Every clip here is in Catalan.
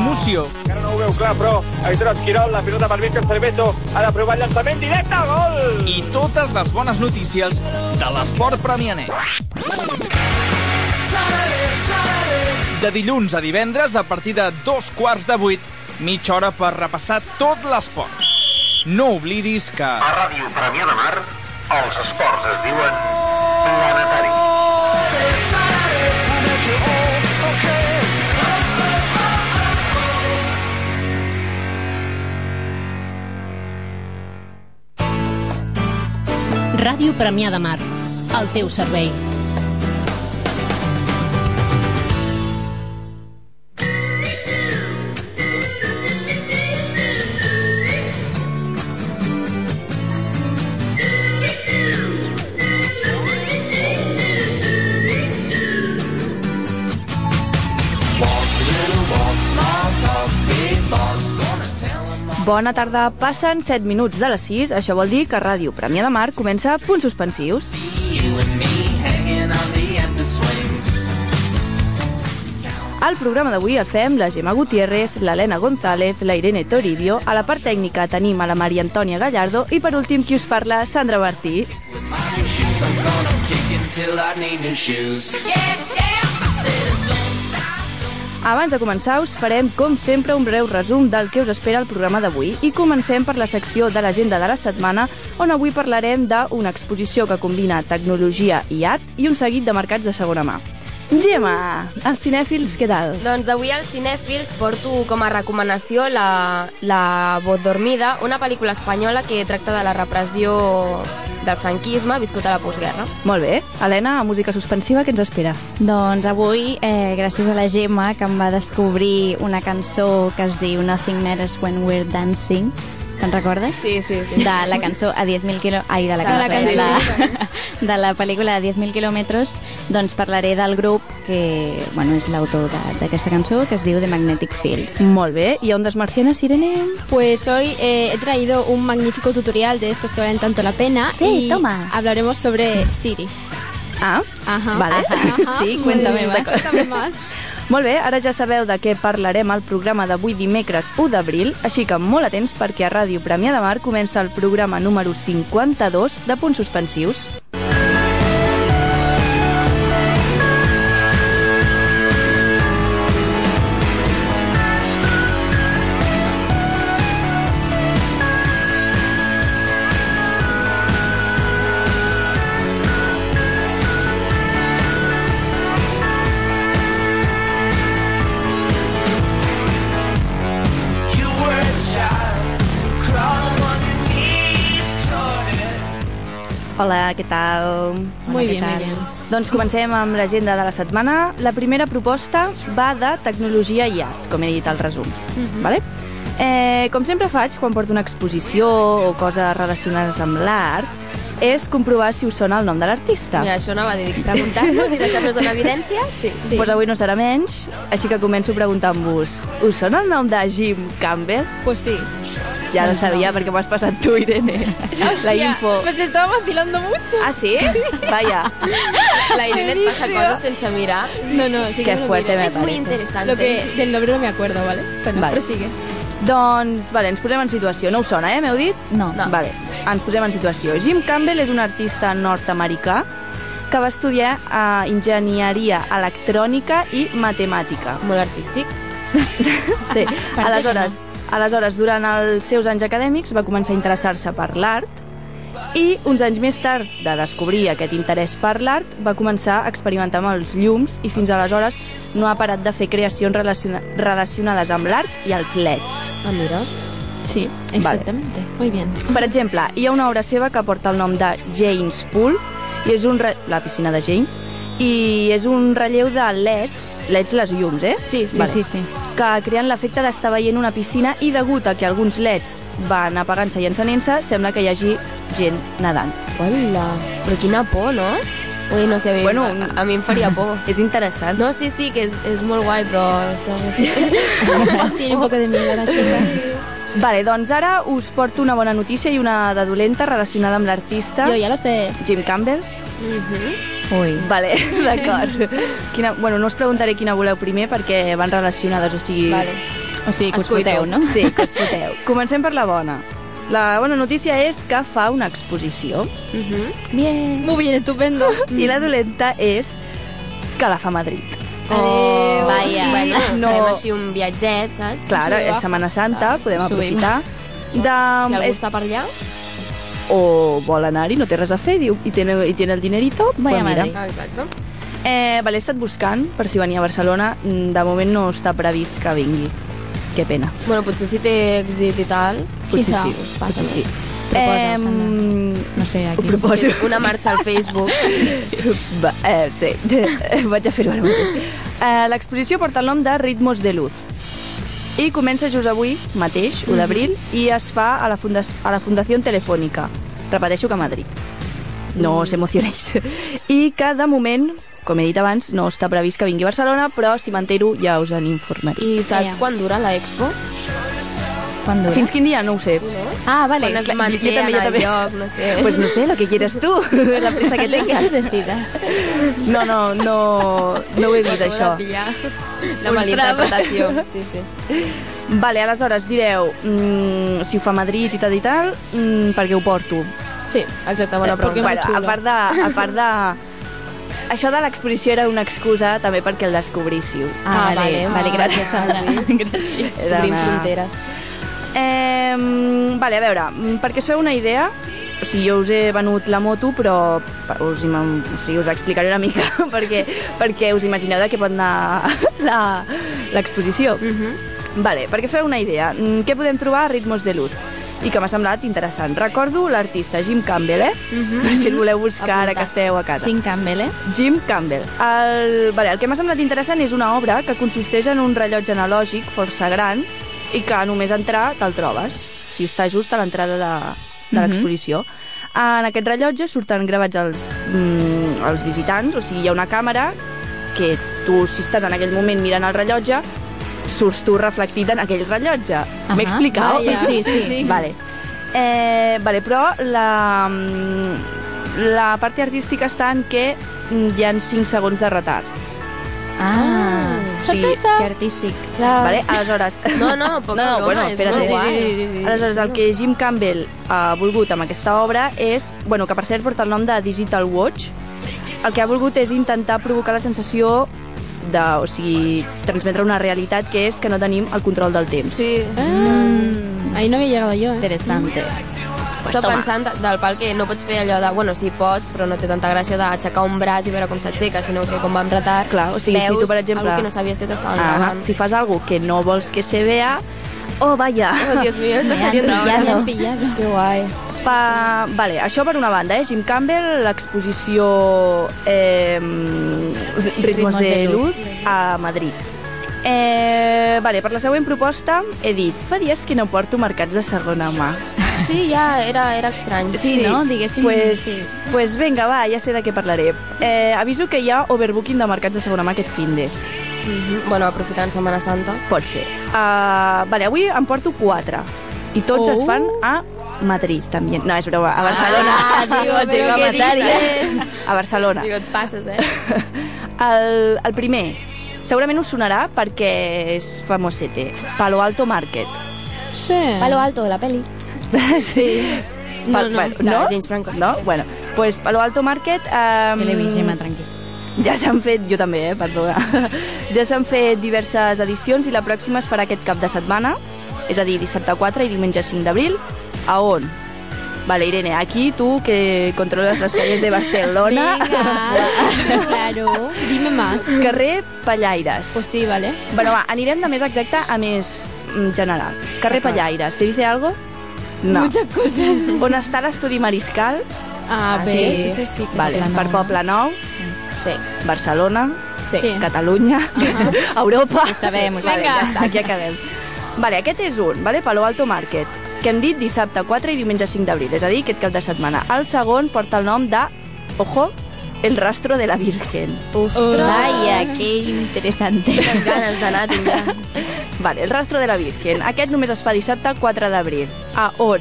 Musio. Encara no ho veu clar, però Aitor Esquirol, la pilota per Víctor Cerveto, ha de provar el llançament directe, gol! I totes les bones notícies de l'esport premianer. De dilluns a divendres, a partir de dos quarts de vuit, mitja hora per repassar tot l'esport. No oblidis que... A Ràdio Premià de Mar, els esports es diuen planetaris. Ràdio Premià de Mar. El teu servei. Bona tarda, passen 7 minuts de les 6, això vol dir que Ràdio Premià de Mar comença a punts suspensius. Al programa d'avui el fem la Gemma Gutiérrez, l'Helena González, la Irene Toribio, a la part tècnica tenim a la Maria Antònia Gallardo i per últim qui us parla, Sandra Martí. Abans de començar us farem, com sempre, un breu resum del que us espera el programa d'avui i comencem per la secció de l'agenda de la setmana on avui parlarem d'una exposició que combina tecnologia i art i un seguit de mercats de segona mà. Gemma, els cinèfils, què tal? Doncs avui al Cinèfils porto com a recomanació la, la Voz Dormida, una pel·lícula espanyola que tracta de la repressió del franquisme viscut a la postguerra. Molt bé. Helena, a música suspensiva, què ens espera? Doncs avui, eh, gràcies a la Gemma, que em va descobrir una cançó que es diu Nothing Matters When We're Dancing, te'n recordes? Sí, sí, sí. De la cançó a 10.000 quilò... Ai, de la De cançó. eh, la de, cançó. la, de la pel·lícula de 10.000 quilòmetres, doncs parlaré del grup que, bueno, és l'autor de- d'aquesta cançó, que es diu The Magnetic Fields. Molt bé. I Ondes Marcianes, Irene? Mm. Pues hoy eh, he traído un magnífico tutorial de estos que valen tanto la pena Sí, y toma. hablaremos sobre Siri. Ah, Ajá. Vale. Ajá. Sí, Muy cuéntame bien, más. cuéntame más. Molt bé, ara ja sabeu de què parlarem al programa d'avui dimecres 1 d'abril, així que molt atents perquè a Ràdio Premià de Mar comença el programa número 52 de punts suspensius. Hola, què tal? Muy ¿qué bien, muy tal? bien. Doncs comencem amb l'agenda de la setmana. La primera proposta va de tecnologia i art, com he dit al resum. Mhm. vale? eh, com sempre faig quan porto una exposició o coses relacionades amb l'art, és comprovar si us sona el nom de l'artista. Mira, això no va dir preguntar-nos i deixar-nos en evidència. Sí, Sí. sí. Pues avui no serà menys, així que començo preguntant-vos. Us sona el nom de Jim Campbell? Pues sí. Ja no sabia perquè m'ho has passat tu, Irene. La info. Pues te estaba vacilando mucho. Ah, sí? Vaya, La Irene et passa Bonísimo. coses sense mirar. No, no, sí que qué me lo fuerte miro. me Es muy parece. interesante. Lo que del nombre no me acuerdo, ¿vale? Pues Bueno, Vale. prosigue. Doncs, vale, ens posem en situació. No us sona, eh, m'heu dit? No. No. Vale, ens posem en situació. Jim Campbell és un artista nord-americà que va estudiar eh, enginyeria electrònica i matemàtica. Molt artístic. Sí, aleshores, aleshores, durant els seus anys acadèmics va començar a interessar-se per l'art i uns anys més tard de descobrir aquest interès per l'art va començar a experimentar amb els llums i fins aleshores no ha parat de fer creacions relaciona relacionades amb l'art i els E leds. Ah, mira. Sí, Em exactamente. Muy bien. Per exemple, hi ha una obra seva que porta el nom de Jane's Pool, i és un re... la piscina de Jane, i és un relleu de E leds, leds les llums, eh? Sí, sí, Sí, vale. sí, sí. que creen l'efecte d'estar veient una piscina i degut a que alguns leds van apagant-se i encenent-se, sembla que hi hagi gent nedant. Hola. Però quina por, no? Ui, no sé, a mi, Bueno, bueno, a, a mi em faria por. És interessant. No, sí, sí, que és, és molt guai, però... o sigui, sí. Tiene un poco de miedo la chica. Vale, doncs ara us porto una bona notícia i una de dolenta relacionada amb l'artista Yo ya lo sé. Jim Campbell. Ui. Vale, d'acord. Quina... Bueno, no us preguntaré quina voleu primer perquè van relacionades, o sigui... Vale. O sigui, que us Escuito. foteu, no? Sí, que es foteu. Comencem per la bona. La bona notícia és que fa una exposició Bien. Muy bien, estupendo. i la dolenta és que la fa a Madrid. Oh. Adéu. Ah, Vaya. Eh, Bueno, No. no. farem així un viatget, saps? Clar, Sí, és va. Setmana Santa, podem Subim. aprofitar. Si De, algú és, està per allà. o vol anar-hi, no té res a fer, diu, i tiene, i tiene el dinerito, Vaya pues mira. Madrid. Ah, exacte. Eh, vale, he estat buscant per si venia a Barcelona, Mm, de moment no està previst que vingui. Que pena. Bueno, potser si té èxit i tal. Potser Quizá. sí, Doncs passa, potser sí. Proposa, Em, No sé, ho aquí... proposo. Una marxa al Facebook. Va, eh, sí, vaig a fer-ho ara mateix. Eh, L'exposició porta el nom de Ritmos de Luz i comença just avui mateix, 1 d'abril, i es fa a la, funda a la Fundació Telefònica. Repeteixo que a Madrid. No us emocioneix. I que, de moment, com he dit abans, no està previst que vingui a Barcelona, però si m'entero ja us en informaré. I saps Ja. quan dura la expo? Quan dura? Fins quin dia? No ho sé. Ah, vale. Quan es clar, jo- jo manté també, jo en el també. lloc, no sé. Pues no sé, lo que quieres tu, la pressa que ¿Qué tengas. necesitas? No, no, no, no ho he vist, Acabo de això. pillar La Un malinterpretació. Sí, sí. Vale, aleshores direu, mm, si ho fa a Madrid i tal i tal, mm, per què ho porto? Sí, exacto, buena Perquè, pregunta. bueno, a part de... A part de... Això de l'exposició era una excusa també perquè el descobríssiu. Ah, vale, vale, gràcies, Sandra. Era Obrim una- fronteres. Eh, vale, a veure, mm, perquè us feu una idea, o sigui, jo us he venut la moto, però per- us, ima- o sigui, us explicaré una mica perquè, perquè us imagineu de què pot anar la- l'exposició. Mm -hmm. Vale, perquè feu una idea, mm, què podem trobar a Ritmos de Luz? I que m'ha semblat interessant. Recordo l'artista Jim Campbell, eh? Per si el voleu buscar ara que Apuntat. esteu a casa. Jim Campbell, eh? Jim Campbell. El, vale, el que m'ha semblat interessant és una obra que consisteix en un rellotge analògic força gran i que a només entrar te'l trobes, si està just a l'entrada de, de l'exposició. En aquest rellotge surten gravats els, mm, els visitants, o sigui, hi ha una càmera que tu, si estàs en aquell moment mirant el rellotge, surts tu reflectit en aquell rellotge. Ahà. M'he explicat? Sí, sí, sí. Sí. Vale. Eh, vale, però la, la part artística està en que mm, hi han 5 segons de retard. Ah, Sí, que artístic. Clar. Vale? Aleshores... Ah. No, no, poca No, no, broma, bueno, és espera't, molt sí, guai. sí, Aleshores, el que Jim Campbell ha volgut amb aquesta obra és... Bueno, que per cert porta el nom de Digital Watch. El que ha volgut és intentar provocar la sensació de, o sigui, transmetre una realitat que és que no tenim el control del temps. Sí. Ah. Mm, ahí no había llegado yo, ¿eh? Interessante. Està pensant de- del pal que no pots fer allò de... Bueno, sí, pots, però no té tanta gràcia d'aixecar un braç i veure com s'aixeca, sinó que com va amb retard... Clar, o sigui, si veus tu, per exemple- algo que no sabies que t'estaven Ah, gravant. si fas algo que no vols que se vea, oh, vaya. Oh, Dios mío, esto han sería una obra. pillado. Pillado. Qué guay. Pa... Vale, això per una banda, eh? Jim Campbell, l'exposició eh... Ritmos, Ritmos de, de Luz a Madrid. Eh, vale, per la següent proposta he dit fa dies que no porto mercats de segona mà. Sí, ja era, era estrany. Sí, no? Diguéssim, Pues, sí. pues venga, va, ja sé de què parlaré. Eh, aviso que hi ha overbooking de mercats de segona mà aquest finde. Mhm. Bueno, aprofitant Setmana Santa. Pot ser. Uh, vale, avui en porto quatre. I tots Oh. es fan a Madrid, també. No, és broma, a Barcelona. Ah, digo, Te pero iba a ¿qué matar, dices? ja. A Barcelona. Digo, et passes, eh? El, el primer, segurament us sonarà perquè és famosete. Palo Alto Market. Sí. alto, la peli. Sí. Pa- No, no, bueno, la de James Franco. No? Bueno, pues Palo Alto Market... Um, Me l'he vist, Gemma, tranquil. Ja s'han fet, jo també, eh, perdona. Ja s'han fet diverses edicions i la pròxima es farà aquest cap de setmana, és a dir, dissabte 4 i diumenge 5 d'abril. A on? Vale, Irene, aquí tu que controles les calles de Barcelona, Venga. claro. Dime más. carrer Pallaires. Pues sí, vale. Bueno, va, anirem de més exacte a més mm, general. Carrer Pallaires, te dice algo? No. Muchas cosas. On està l'estudi Mariscal? Ah, Ah, ver, sí. sí. eso sí que Vale, Poblenou. per Poble Nou, Sí. Barcelona, sí. sí. Catalunya, Europa... Ho sabem, ho sabem. Vale, ja està, aquí acabem. Vale, aquest és un, vale? Palo Alto Market, que hem dit dissabte 4 i diumenge 5 d'abril, és a dir, aquest cap de setmana. El segon porta el nom de, ojo, El rastro de la Virgen. Ostres. Vaya, que interessante. Quines ganes d'anar tindrà. Vale, El rastro de la Virgen. Aquest només es fa dissabte 4 d'abril. A on?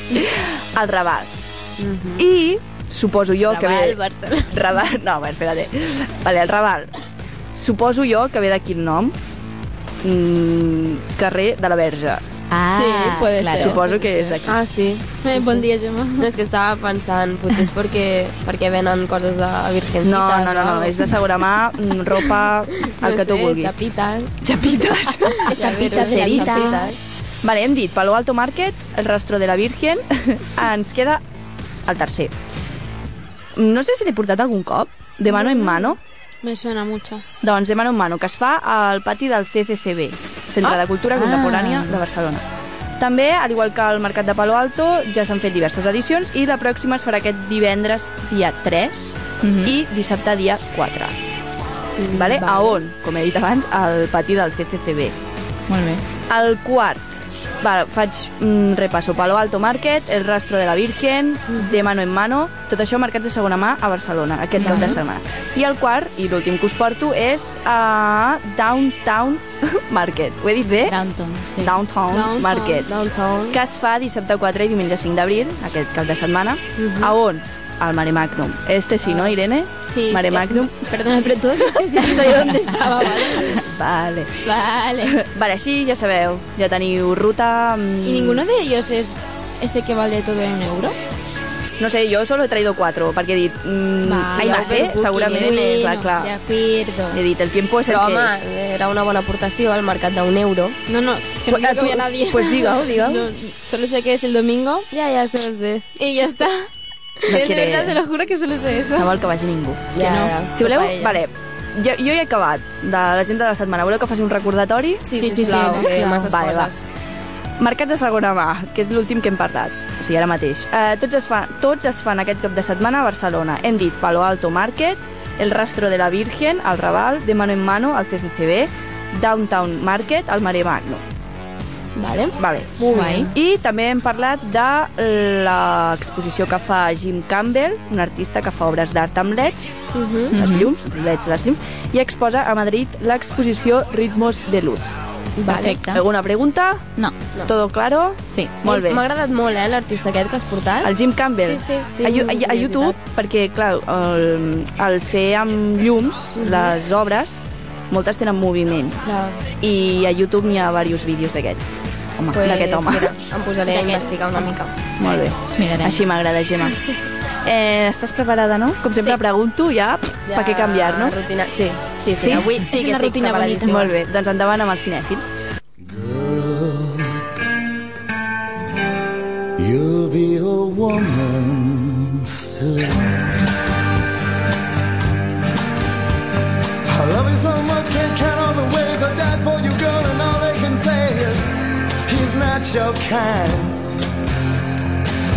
Al Raval. I suposo jo que ve... Mhm. Raval, Barcelona. Raval, no, bueno, espérate. Vale, el Raval. Suposo jo que ve d'aquí el nom. Mm, carrer de la Verge. Ah, Sí, puede claro. ser. Suposo que és d'aquí. Ah, sí. Eh, bon dia, Gemma. No, és que estava pensant, potser és perquè, perquè venen coses de virgencitas. No, no, no, no, és de segona mà, mm, ropa, el que tu vulguis. Chapitas. Xapites. Llaveros, de llavita. chapitas. Vale, hem dit Palo Alto Market, el rastro de la Virgen, ens queda el tercer. No sé si l'he portat algun cop, de mano en mano. Me suena mucho. Doncs de mano en mano, que es fa al pati del CCCB, Centre Ah! de Cultura Contemporània de Barcelona. També, al igual que al Mercat de Palo Alto, ja s'han fet diverses edicions i la pròxima es farà aquest divendres dia 3 Mhm. i dissabte dia 4. Vale? A on? Com he dit abans, al pati del CCCB. Molt bé. El quart. Va, faig un repasso. Palo Alto Market, El rastro de la Virgen, De mano en mano, tot això mercats de segona mà a Barcelona, aquest cap de setmana. I el quart, i l'últim que us porto, és a Downtown Market. Ho he dit bé? Downton, sí. Downtown, Downtown, Market. Downtown. Que es fa dissabte 4 i diumenge 5 d'abril, aquest cap de setmana. A on? Al Mare Magnum. Este sí, no, Irene? Sí, Mare sí. Magnum. Perdona, pero todos los que estáis ahí donde Ah, estaba, ¿vale? Vale. Vale. Vale, així ja sabeu, ja teniu ruta... mm, ¿Y ninguno de ellos es ese que vale todo en un euro? No sé, jo solo he traído cuatro, perquè he dit... Mm, Vale. ai, va ser, Overbooking, segurament, eh, Bueno, clar, clar. De acuerdo. He dit, el tiempo és el Però, que home, és. era una bona aportació al mercat d'un euro. No, no, es que no Pues, ah, creo que tú- había nadie. pues diga, diga. No, solo sé que es el domingo Ja, ja sé, ho sé. y ya está. de quiere- verdad, te lo juro que solo sé eso. No vol que vagi ningú. Ja, no. ja. Si voleu, paella. vale, jo, jo ja he acabat de l'agenda de la setmana. Voleu que faci un recordatori? Sí, sí, sí, sí, sí, sí, sisplau. masses Vale, va. coses. Mercats de segona mà, que és l'últim que hem parlat. O sigui, ara mateix. Eh, tots, es fan, tots es fan aquest cap de setmana a Barcelona. Hem dit Palo Alto Market, El Rastro de la Virgen, al Raval, De Mano en Mano, al CCCB, Downtown Market, al Mare Magno. Vale. Vale. Molt bé. I també hem parlat de l'exposició que fa Jim Campbell, un artista que fa obres d'art amb leds, les llums, leds, les llums, i exposa a Madrid l'exposició Ritmos de Luz. Perfecte. Alguna pregunta? No, No. Todo claro? sí. Molt bé. M'ha agradat molt, eh, l'artista aquest que has portat. El Jim Campbell. Sí, sí, A, Yu- a, a tinc YouTube, perquè, clar, el, el ser amb llums, les obres, moltes tenen moviment. Clar. I a YouTube n'hi ha diversos vídeos d'aquest home. Pues, d'aquest home. Mira, em posaré a investigar una mica. Molt bé. Mirarem. Així m'agrada, Gemma. Eh, estàs preparada, no? Com sempre Sí. pregunto, ja, pff, ja... per què canviar, no? Rutina... Sí, sí, sí, Sí? avui És sí que una estic rutina preparadíssima. Molt bé, doncs endavant amb els cinèfils. You'll be a woman soon. I love you so much, can't count all the ways I died for you, girl, and all they can say is he's not your kind.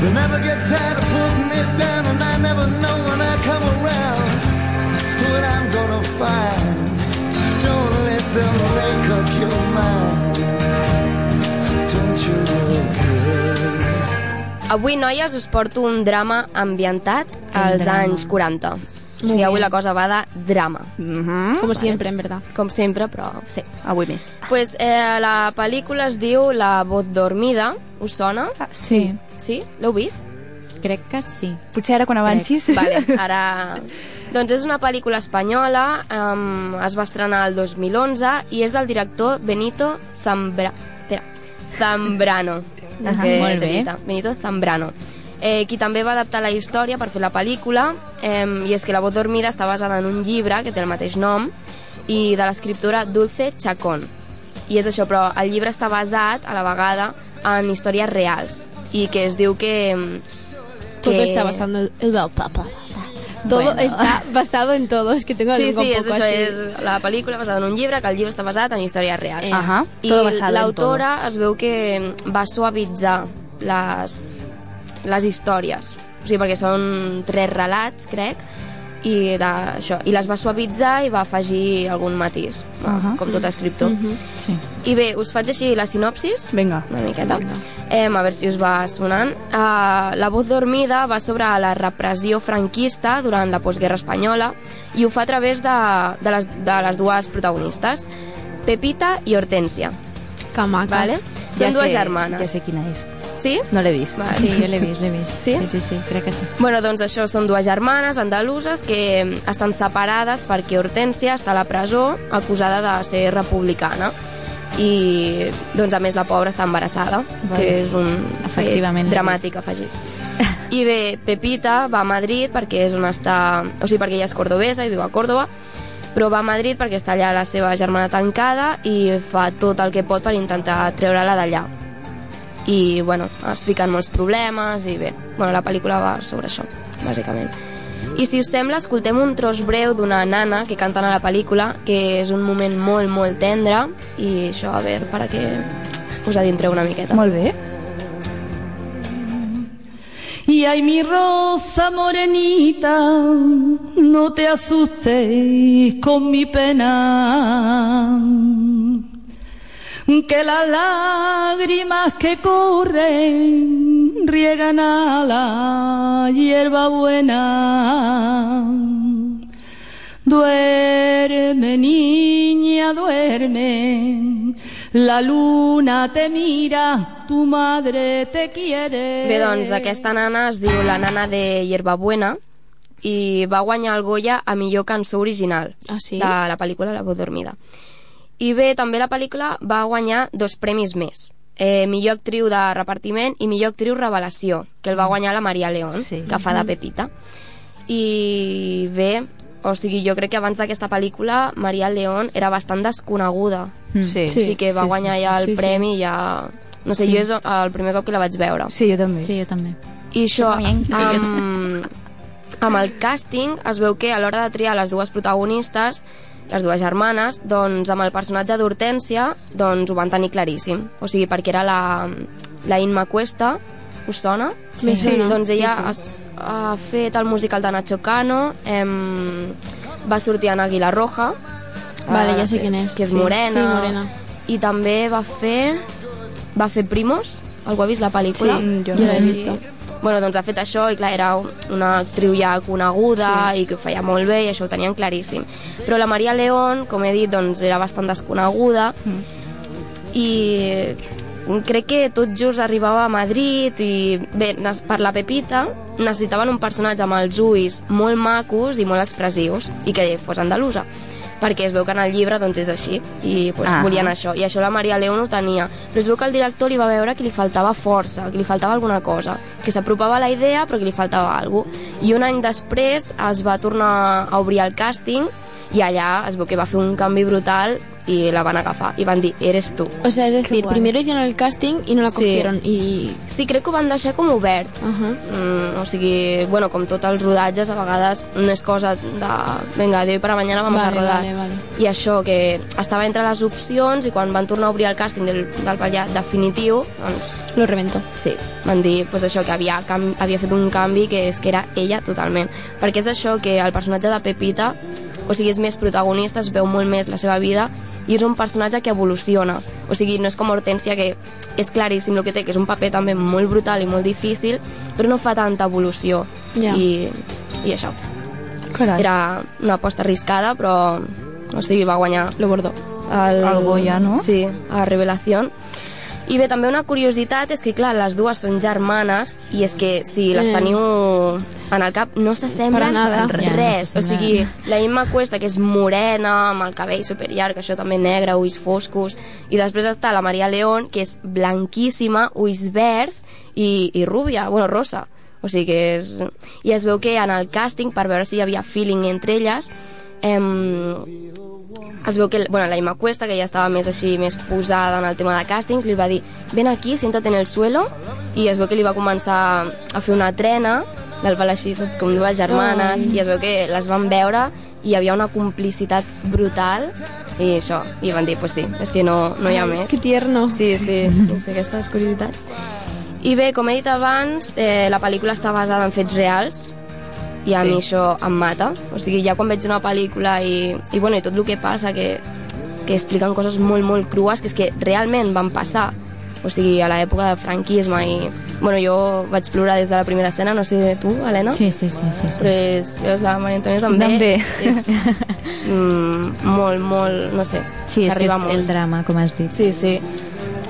They never get tired of putting it down, and I never know when I come around what I'm gonna find. Don't let them make up your mind. Don't you look good? Avui, noies, us porto un drama ambientat als anys 40. O sigui, avui la cosa va de drama. Como siempre, en verdad. Com sempre, però sí. Avui més. Pues, eh, la pel·lícula es diu La voz dormida. Us sona? Sí. Sí? L'heu vist? Crec que sí. Potser ara quan avancis... Vale, ara... Doncs és una pel·lícula espanyola, um, es va estrenar el 2011 i és del director Benito Zambra... Espera, Zambrano. És que molt té bé. pinta. Benito Zambrano. Eh, qui també va adaptar la història per fer la pel·lícula eh, i és que La voz dormida està basada en un llibre que té el mateix nom i de l'escriptura Dulce Chacón. I és això, però el llibre està basat a la vegada en històries reals i que es diu que... Todo está basado en el papá. Todo Bueno. está basado en todo. Es que tengo Sí, algo sí, un és poco això, así. és la pel·lícula basada en un llibre, que el llibre està basat en històries reals. Eh, Ajá, I todo basado en l'autora es veu que va suavitzar les, les històries, o sigui, perquè són tres relats, crec, i, de, això, i les va suavitzar i va afegir algun matís, uh -huh. com tot escriptor. Uh -huh. Mhm. Sí. I bé, us faig així la sinopsis? Vinga. una miqueta. Eh, a veure si us va sonant. Uh, la voz dormida va sobre la repressió franquista durant la postguerra espanyola i ho fa a través de, de, les, de les dues protagonistes, Pepita i Hortència. Camacas. Vale? Són dues germanes. Ah, Ja sé quina és. Sí? No l'he vist. Vale. Sí, jo l'he vist, l'he vist. Sí? sí, sí, sí, crec que sí. Bueno, doncs això, són dues germanes andaluses que mm, estan separades perquè Hortència està a la presó acusada de ser republicana. i doncs a més la pobra està embarassada, Vale. que és un fet Efectivament, l'he dramàtic afegit. I bé, Pepita va a Madrid perquè és on està... O sigui, perquè ella és cordobesa i viu a Còrdoba, però va a Madrid perquè està allà la seva germana tancada i fa tot el que pot per intentar treure-la d'allà. I, bueno, es fiquen molts problemes i bé, bueno, la pel·lícula va sobre això, bàsicament. I si us sembla, escoltem un tros breu d'una nana que canten a la pel·lícula, que és un moment molt, molt tendre, i això, a veure, per a que us adintreu una miqueta. Molt bé. Y ay, mi rosa morenita, no te asustes con mi pena. Que las lágrimas que corren riegan a la hierba buena. Duerme, niña, duerme. La luna te mira, tu madre te quiere. Bé, doncs, aquesta nana es diu la nana de Hierbabuena i va guanyar el Goya a millor cançó original ah, sí? de la pel·lícula La Voz Dormida. I bé, també la pel·lícula va guanyar dos premis més. Eh, millor actriu de repartiment i millor actriu revelació, que el va guanyar la Maria León, sí. que Mm. fa de Pepita. I bé, o sigui, jo crec que abans d'aquesta pel·lícula Maria León era bastant desconeguda. Mm. Sí. o sigui que va Sí, sí, guanyar ja el sí, sí. premi, ja... No sé, Sí. jo és el primer cop que la vaig veure. Sí, jo també. Sí, jo també. I això, amb, amb el càsting, es veu que a l'hora de triar les dues protagonistes, les dues germanes, doncs amb el personatge d'Hortència, doncs ho van tenir claríssim. O sigui, perquè era la, la Inma Cuesta, us sona? Sí, sí. Doncs ella Sí, sí, sí. ha fet el musical de Nacho Cano, em, va sortir en Águila Roja, Vale, eh, ja sé quin és. Que és Sí. morena. Sí, morena. I també va fer... Va fer Primos, algú ha vist la pel·lícula? Sí, Mm, jo jo no. l'he vista. Bueno, doncs ha fet això i clar, era una actriu ja coneguda sí. i que ho feia molt bé i això ho tenien claríssim. Però la Maria León, com he dit, doncs era bastant desconeguda Mm. i crec que tot just arribava a Madrid i bé, nes- per la Pepita necessitaven un personatge amb els ulls molt macos i molt expressius i que fos andalusa perquè es veu que en el llibre doncs, és així i doncs, Ah. volien això, i això la Maria León ho tenia però es veu que el director li va veure que li faltava força que li faltava alguna cosa que s'apropava a la idea però que li faltava alguna cosa i un any després es va tornar a obrir el càsting i allà es veu que va fer un canvi brutal i la van agafar i van dir, eres tu O sea, es decir, primero hicieron el casting y no la Sí. cogieron. Y... Sí, crec que ho van deixar com obert. Uh -huh. mm, o sigui, bueno, com tots els rodatges, a vegades no és cosa de... Vinga, adéu i per a mañana vamos Vale, a rodar. vale, vale. I això, que estava entre les opcions i quan van tornar a obrir el càsting del, del ballar definitiu, doncs Lo reventó. Sí. van dir pues, això, que havia, cam havia fet un canvi que és que era ella totalment. Perquè és això que el personatge de Pepita, o sigui, és més protagonista, es veu molt més la seva vida i és un personatge que evoluciona. O sigui, no és com Hortència que és claríssim el que té, que és un paper també molt brutal i molt difícil, però no fa tanta evolució. Ja. I, I això. Carai. Era una aposta arriscada, però o sigui, va guanyar el Bordó. El, El Goya, no? Sí, a Revelación. I bé, també una curiositat és que, clar, les dues són germanes i és que si les Mm. teniu en el cap no Per a s'assemblen nada. en Ja, no res. o s'assemblen. sigui, la Imma Cuesta, que és morena, amb el cabell superllarg, això també negre, ulls foscos, i després està la Maria León, que és blanquíssima, ulls verds i, i rúbia, bueno, rosa. O sigui que és... I es veu que en el càsting, per veure si hi havia feeling entre elles, em, es veu que bueno, la Ima Cuesta, que ja estava més així, més posada en el tema de càstings, li va dir, ven aquí, siéntate en el suelo, i es veu que li va començar a fer una trena del pal així, saps, com dues germanes, Ai. i es veu que les van veure i hi havia una complicitat brutal, i això, i van dir, pues sí, és que no, no hi ha Ai, més. que tierno. Sí, sí, doncs aquestes curiositats. I bé, com he dit abans, eh, la pel·lícula està basada en fets reals, i a Sí. mi això em mata. O sigui, ja quan veig una pel·lícula i, i, bueno, i tot el que passa, que, que expliquen coses molt, molt crues, que és que realment van passar. O sigui, a l'època del franquisme i... Bueno, jo vaig plorar des de la primera escena, no sé tu, Helena. Sí, sí, sí, sí. sí. Però és, veus, la Maria Antònia també, També. és mm, molt, molt, no sé, Sí, és que t'arriba és molt. el drama, com has dit. Sí, sí.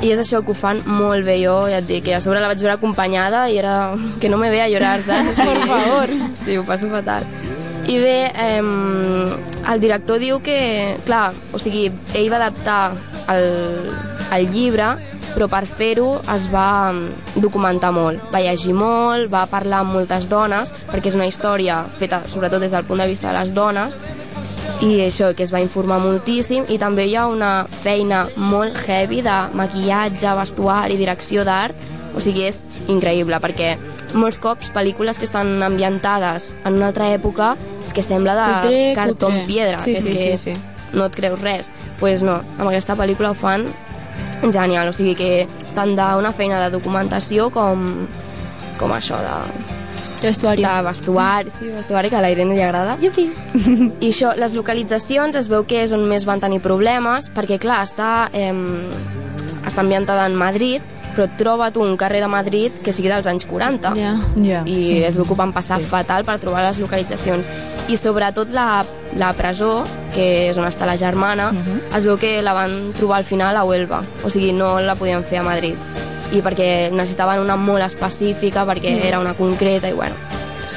I és això que ho fan molt bé, jo ja et dic, que a sobre la vaig veure acompanyada i era que no me ve a llorar, saps? Por favor. Sí, ho passo fatal. I bé, eh, el director diu que, clar, o sigui, ell va adaptar el, el llibre, però per fer-ho es va mm, documentar molt. Va llegir molt, va parlar amb moltes dones, perquè és una història feta sobretot des del punt de vista de les dones, i això que es va informar moltíssim i també hi ha una feina molt heavy de maquillatge, vestuari, direcció d'art o sigui, és increïble perquè molts cops pel·lícules que estan ambientades en una altra època és que sembla de Cutre, cartó cutre. amb piedra Sí, que és sí, que sí, sí. no et creus res doncs pues no, amb aquesta pel·lícula ho fan genial, o sigui que tant d'una feina de documentació com, com això de, de vestuari. De vestuari, sí, vestuari, que a la Irene li agrada. Yupi! I això, les localitzacions es veu que és on més van tenir problemes, perquè, clar, està, em, està ambientada en Madrid, però troba't un carrer de Madrid que sigui dels anys 40. Ja. Ja, I sí. es veu que ho van passar Sí. fatal per trobar les localitzacions. I sobretot la, la presó, que és on està la germana, Mhm. es veu que la van trobar al final a Huelva. O sigui, no la podien fer a Madrid. I perquè necessitaven una molt específica, perquè Mm. era una concreta, i bueno,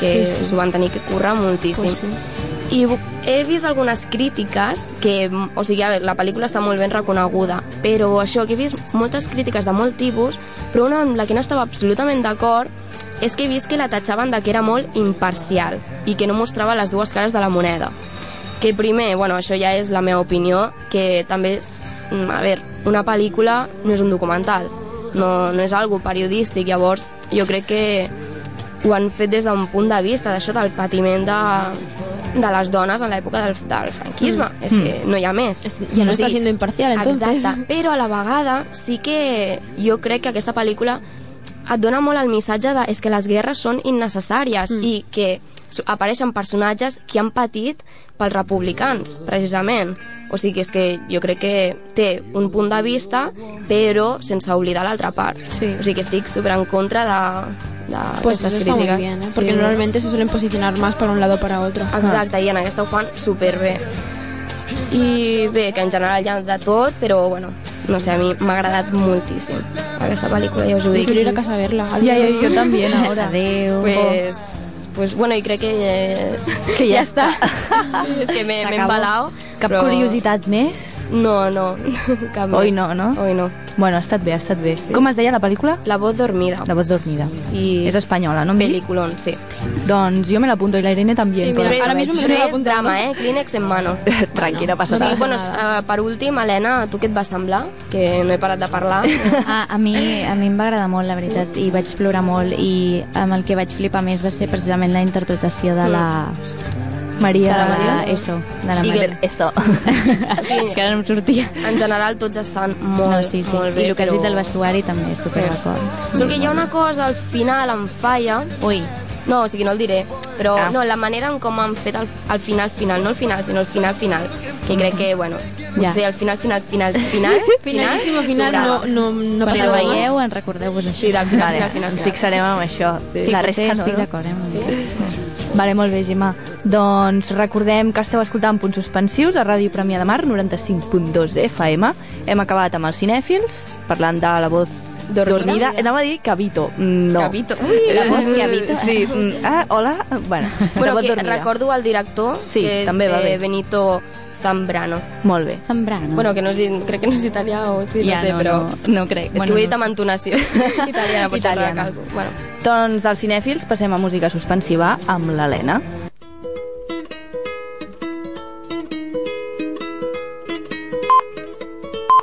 que Sí, sí. s'ho Doncs van tenir que currar moltíssim. Pues sí. I bu- he vist algunes crítiques que, mm, o sigui, a veure, la pel·lícula està molt ben reconeguda, però això, que he vist moltes crítiques de molt tipus, però una amb la que no estava absolutament d'acord és que he vist que la tatxaven de que era molt imparcial i que no mostrava les dues cares de la moneda. Que primer, bueno, això ja és la meva opinió, que també, és, mm, a veure, una pel·lícula no és un documental, no, no és algo periodístic, llavors jo crec que ho han fet des d'un punt de vista d'això del patiment de, de les dones en l'època del, del franquisme. Mm. Mm. És que no hi ha més. ya no está siendo imparcial, entonces. Exacte, però a la vegada sí que jo crec que aquesta pel·lícula et dona molt el missatge de és que les guerres són innecessàries mm. i que s- apareixen personatges que han patit pels republicans, precisament. O sigui, és que jo crec que té un punt de vista, però sense oblidar l'altra part. Sí. O sigui, que estic super en contra de, de Pues eso aquestes está muy crítiques. bien, ¿eh? porque normalmente se suelen posicionar más para un lado o para otro. Ah. Exacte, i en aquesta ho fan superbé. I bé, que en general hi ha de tot, però bueno, no sé, a mi m'ha agradat moltíssim aquesta pel·lícula, ja us ho dic. Quiero ir a casa a verla. Adiós. Adeu. Pues, pues bueno, i crec que, eh, que ja, ja està. Sí, és que m'he m'he S'acabó. embalau. Cap curiositat més? No, no, cap Oi més. no, no? Oi no. Bueno, ha estat bé, ha estat bé. Sí. Com es deia la pel·lícula? La voz dormida. La voz dormida. I... És espanyola, no? Peliculón, sí. Doncs jo me l'apunto i la Irene també. Sí, però mira, la ahora mismo veig. me lo estoy apuntando. drama, eh? Kleenex en mano. Tranquil·la, passa O sigui, res. bueno, eh, per últim, Helena, a tu què et va semblar? Que no he parat de parlar. Ah, A, a, mi, a mi em va agradar molt, la veritat, i vaig plorar molt, i amb el que vaig flipar més va ser precisament la interpretació de la... de Maria. De la, la Maria? Eso, de la I Maria. que- Eso. És que ara no em sortia. En general, tots estan molt, no, sí, sí. molt bé. I el que has però- dit del vestuari també, super d'acord. Solo que hi ha una cosa al final em falla... Ui, No, o sigui, no el diré, però Ah. no, la manera en com han fet el, el final final, no el final, sinó el final final, que crec que, bueno, Ja. potser el final final final final... Finalísimo final, sobrava. no, no, no quan pasa la nada veieu, en recordeu-vos això. Sí, del final, Vale, final, final. ens fixarem en això. Sí, la potser resta no, estic no? d'acord, eh? una mica. Vale, molt bé, Gemma. Doncs recordem que esteu escoltant Punts Suspensius a Ràdio Premià de Mar, 95.2 FM. Hem acabat amb els cinèfils, parlant de la voz dormida. Dormida. dormida. Anava a dir Cabito. Mm, No. Cabito. Ui, la voz Cabito. Sí. mm, Ah, hola. Bueno, la Bueno, voz que dormida. recordo el director, Sí, que és també va bé. eh, Benito Zambrano. Molt bé. Zambrano. Bueno, que no és, crec que no és italià o sí, Ja, no sé, no, però... no, no crec. És Bueno, que ho he no dit amb entonació italiana, potser Italiana. italiana. Recalco. Bueno. Doncs dels cinèfils passem a música suspensiva amb l'Helena.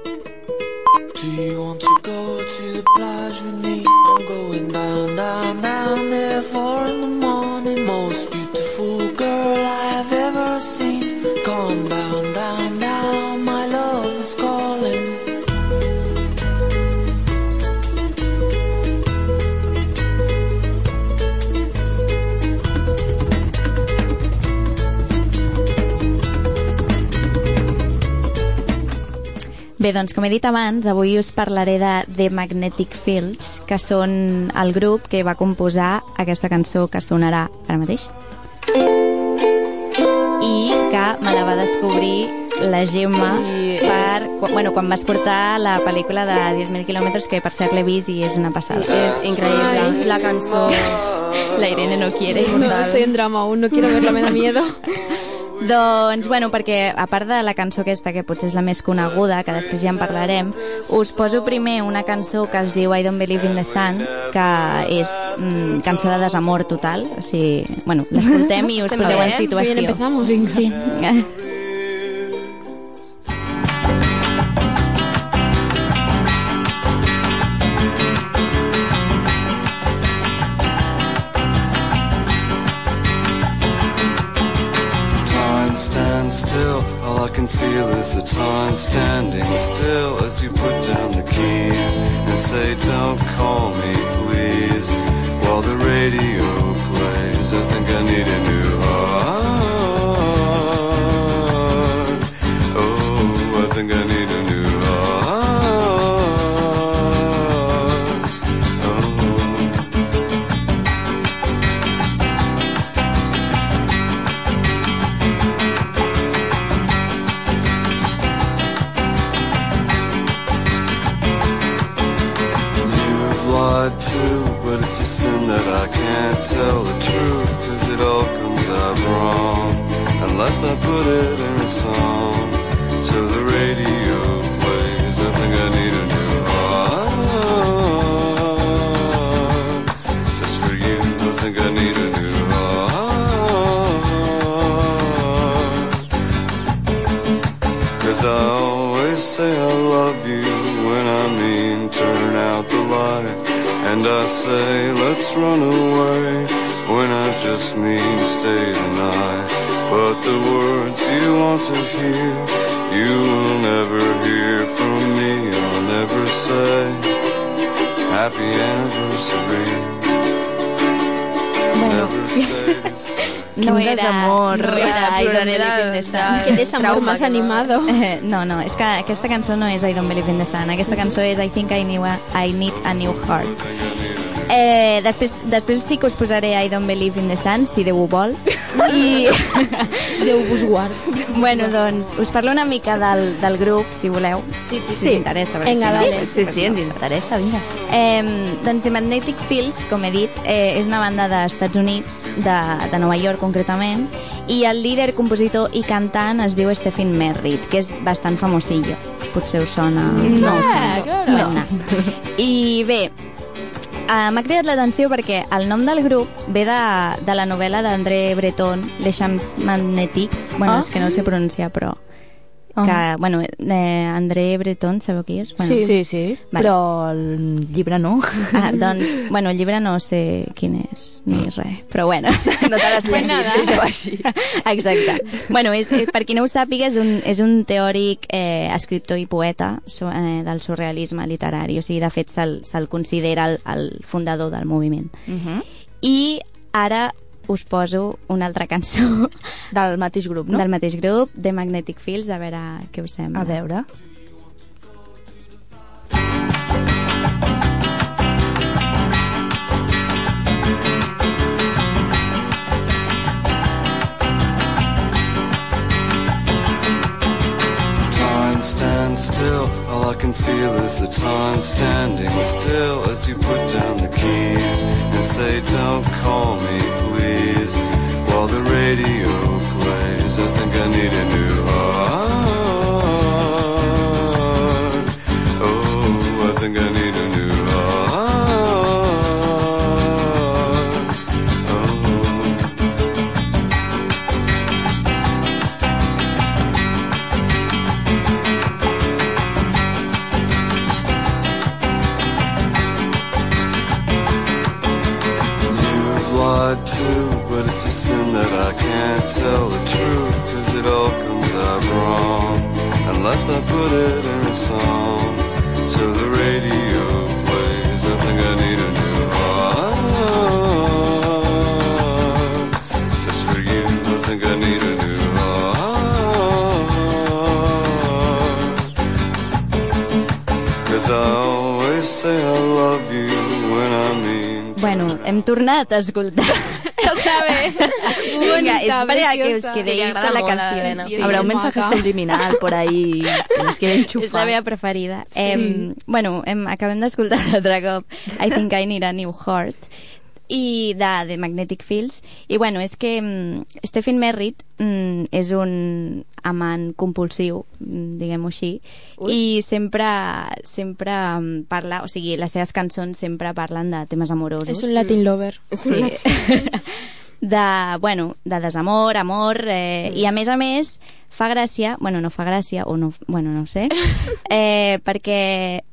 Do you want to go to the plage with me? I'm going down, down, down there four in the morning. Most beautiful girl I've ever seen. Calm down, down, down, my love is calling. Bé, doncs, com he dit abans, avui us parlaré de The Magnetic Fields, que són el grup que va composar aquesta cançó que sonarà ara mateix. I que me la va descobrir la Gemma Sí. per, quan- bueno, quan vas portar la pel·lícula de 10.000 quilòmetres, que per cert l'he vist i és una passada. És increïble. Ai. La cançó... La Irene no quiere. eh, No, estoy en drama aún, no quiero verla, me da miedo. Doncs, bueno, perquè a part de la cançó aquesta, que potser és la més coneguda, que després ja en parlarem, us poso primer una cançó que es diu I Don't Believe in the Sun, que és mm, cançó de desamor total. O sigui, bueno, l'escoltem i us Estem poseu bé, en eh? situació. Bien, empezamos. Vinga. Sí. Time stands still, all I can feel is the time standing still as you put down the keys and say, Don't call me, please. While the radio plays, I think I need a new heart. Oh, I think I need a new heart. Oh. You've lied too, but it's a sin that I can't tell the truth, cause it all comes out wrong. Unless I put it in a song. So the radio plays, I think I need a new heart. Just for you, I think I need a new heart. Cause I always say I love you when I mean turn out the light. And I say let's run away when I just mean stay the night. But the words you want to hear, you will never hear from me. I'll never say happy anniversary. Never say the same. No Quin era, desamor. no era I Don't Believe in Ploraré de- the Sun. de- Quin desamor trauma más que no- animado. Eh, no, no, és que aquesta cançó no és I Don't Believe in the Sun, aquesta cançó és I Think I, knew a, I Need a New Heart. Eh, després, després sí que us posaré I Don't Believe in the Sun, si Déu ho vol. I... Déu vos guard. Bueno, doncs, us parlo una mica del, del grup, si voleu. Sí, sí, Si us interessa. perquè Vinga, si no- dale. Sí, sí, ens interessa, vinga. Eh, doncs The Magnetic Fields, com he dit, eh, és una banda dels Estats Units, de, de Nova York concretament, i el líder, compositor i cantant es diu Stephen Merritt, que és bastant famosillo. Potser us sona... Mm, Sí, no, us eh, sona. claro. Bueno, I bé, eh, m'ha cridat l'atenció perquè el nom del grup ve de, de la novel·la d'André Breton, Les Champs Magnetiques, bueno, Ah. és que no ho sé pronunciar, però... Que, bueno, eh, André Breton, sabeu qui és? Bueno, Sí. Sí, sí, però el llibre no. Ah, doncs, bueno, el llibre no sé quin és, ni res, però bueno. No te l'has llegit, això així. Exacte. Bueno, és, eh, per qui no ho sàpiga, és un, és un teòric eh, escriptor i poeta so, eh, del surrealisme literari, o sigui, de fet, se'l se considera el, el fundador del moviment. I ara us poso una altra cançó. Del mateix grup, no? Del mateix grup, de Magnetic Fields, a veure què us sembla. A veure. Time stands still, all I can feel is the time standing still as you put down the keys and say, Don't call me, please. While the radio plays, I think I need a new heart. Oh, I think I need a new heart. Oh. You've lied too, but it's a sin that I can't tell the truth, cause it all comes out wrong. Unless I put it in a song. So the radio plays, I think I need a new heart. Just for you, I think I need a new heart. Cause I always say I love you when I mean Bueno, hem tornat a escoltar. Otra vez. Venga, espera que os quedéis con la canción. Habrá un mensaje subliminal por ahí. Nos quiere enchufar. És la meva preferida. Sí. Em, bueno, em, acabem d'escoltar un altre cop I Think I Need a New Heart i de, de Magnetic Fields i bueno, és que mm, Stephen Merritt mm, és un amant compulsiu mm, diguem-ho així Ui. i sempre, sempre mm, parla, o sigui, les seves cançons sempre parlen de temes amorosos És un Latin lover. És un sí. de, bueno, de desamor, amor eh, i a Mm. més a més fa gràcia, bueno, no fa gràcia o no, bueno, no ho sé eh, perquè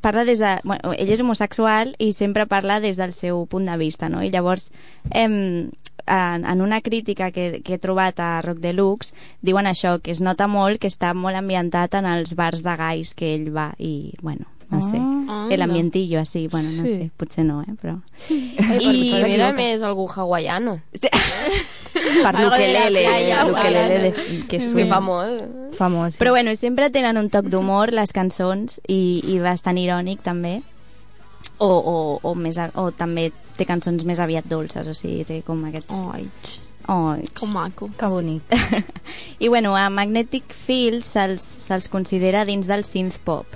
parla des de... Bueno, ell és homosexual i sempre parla des del seu punt de vista, no? I llavors, em, en, en una crítica que, que he trobat a Rock Deluxe, diuen això, que es nota molt que està molt ambientat en els bars de gais que ell va i, bueno, no sé. Ah, el anda. ambientillo, així, bueno, no Sí. sé, potser no, eh, però... I I- mira més algú hawaiano. Per Algo de la l'ukelele, playa, l'ukelele, hawaiano. de- que Que suena. fa molt. Fa molt, sí. Però bueno, sempre tenen un toc d'humor les cançons i, i bastant irònic també o, o, o, més, a- o també té cançons més aviat dolces, o sigui, este té com aquests... Oig. Oig. Com maco. Que bonic. I bueno, a Magnetic Field se'ls se considera dins del synth-pop,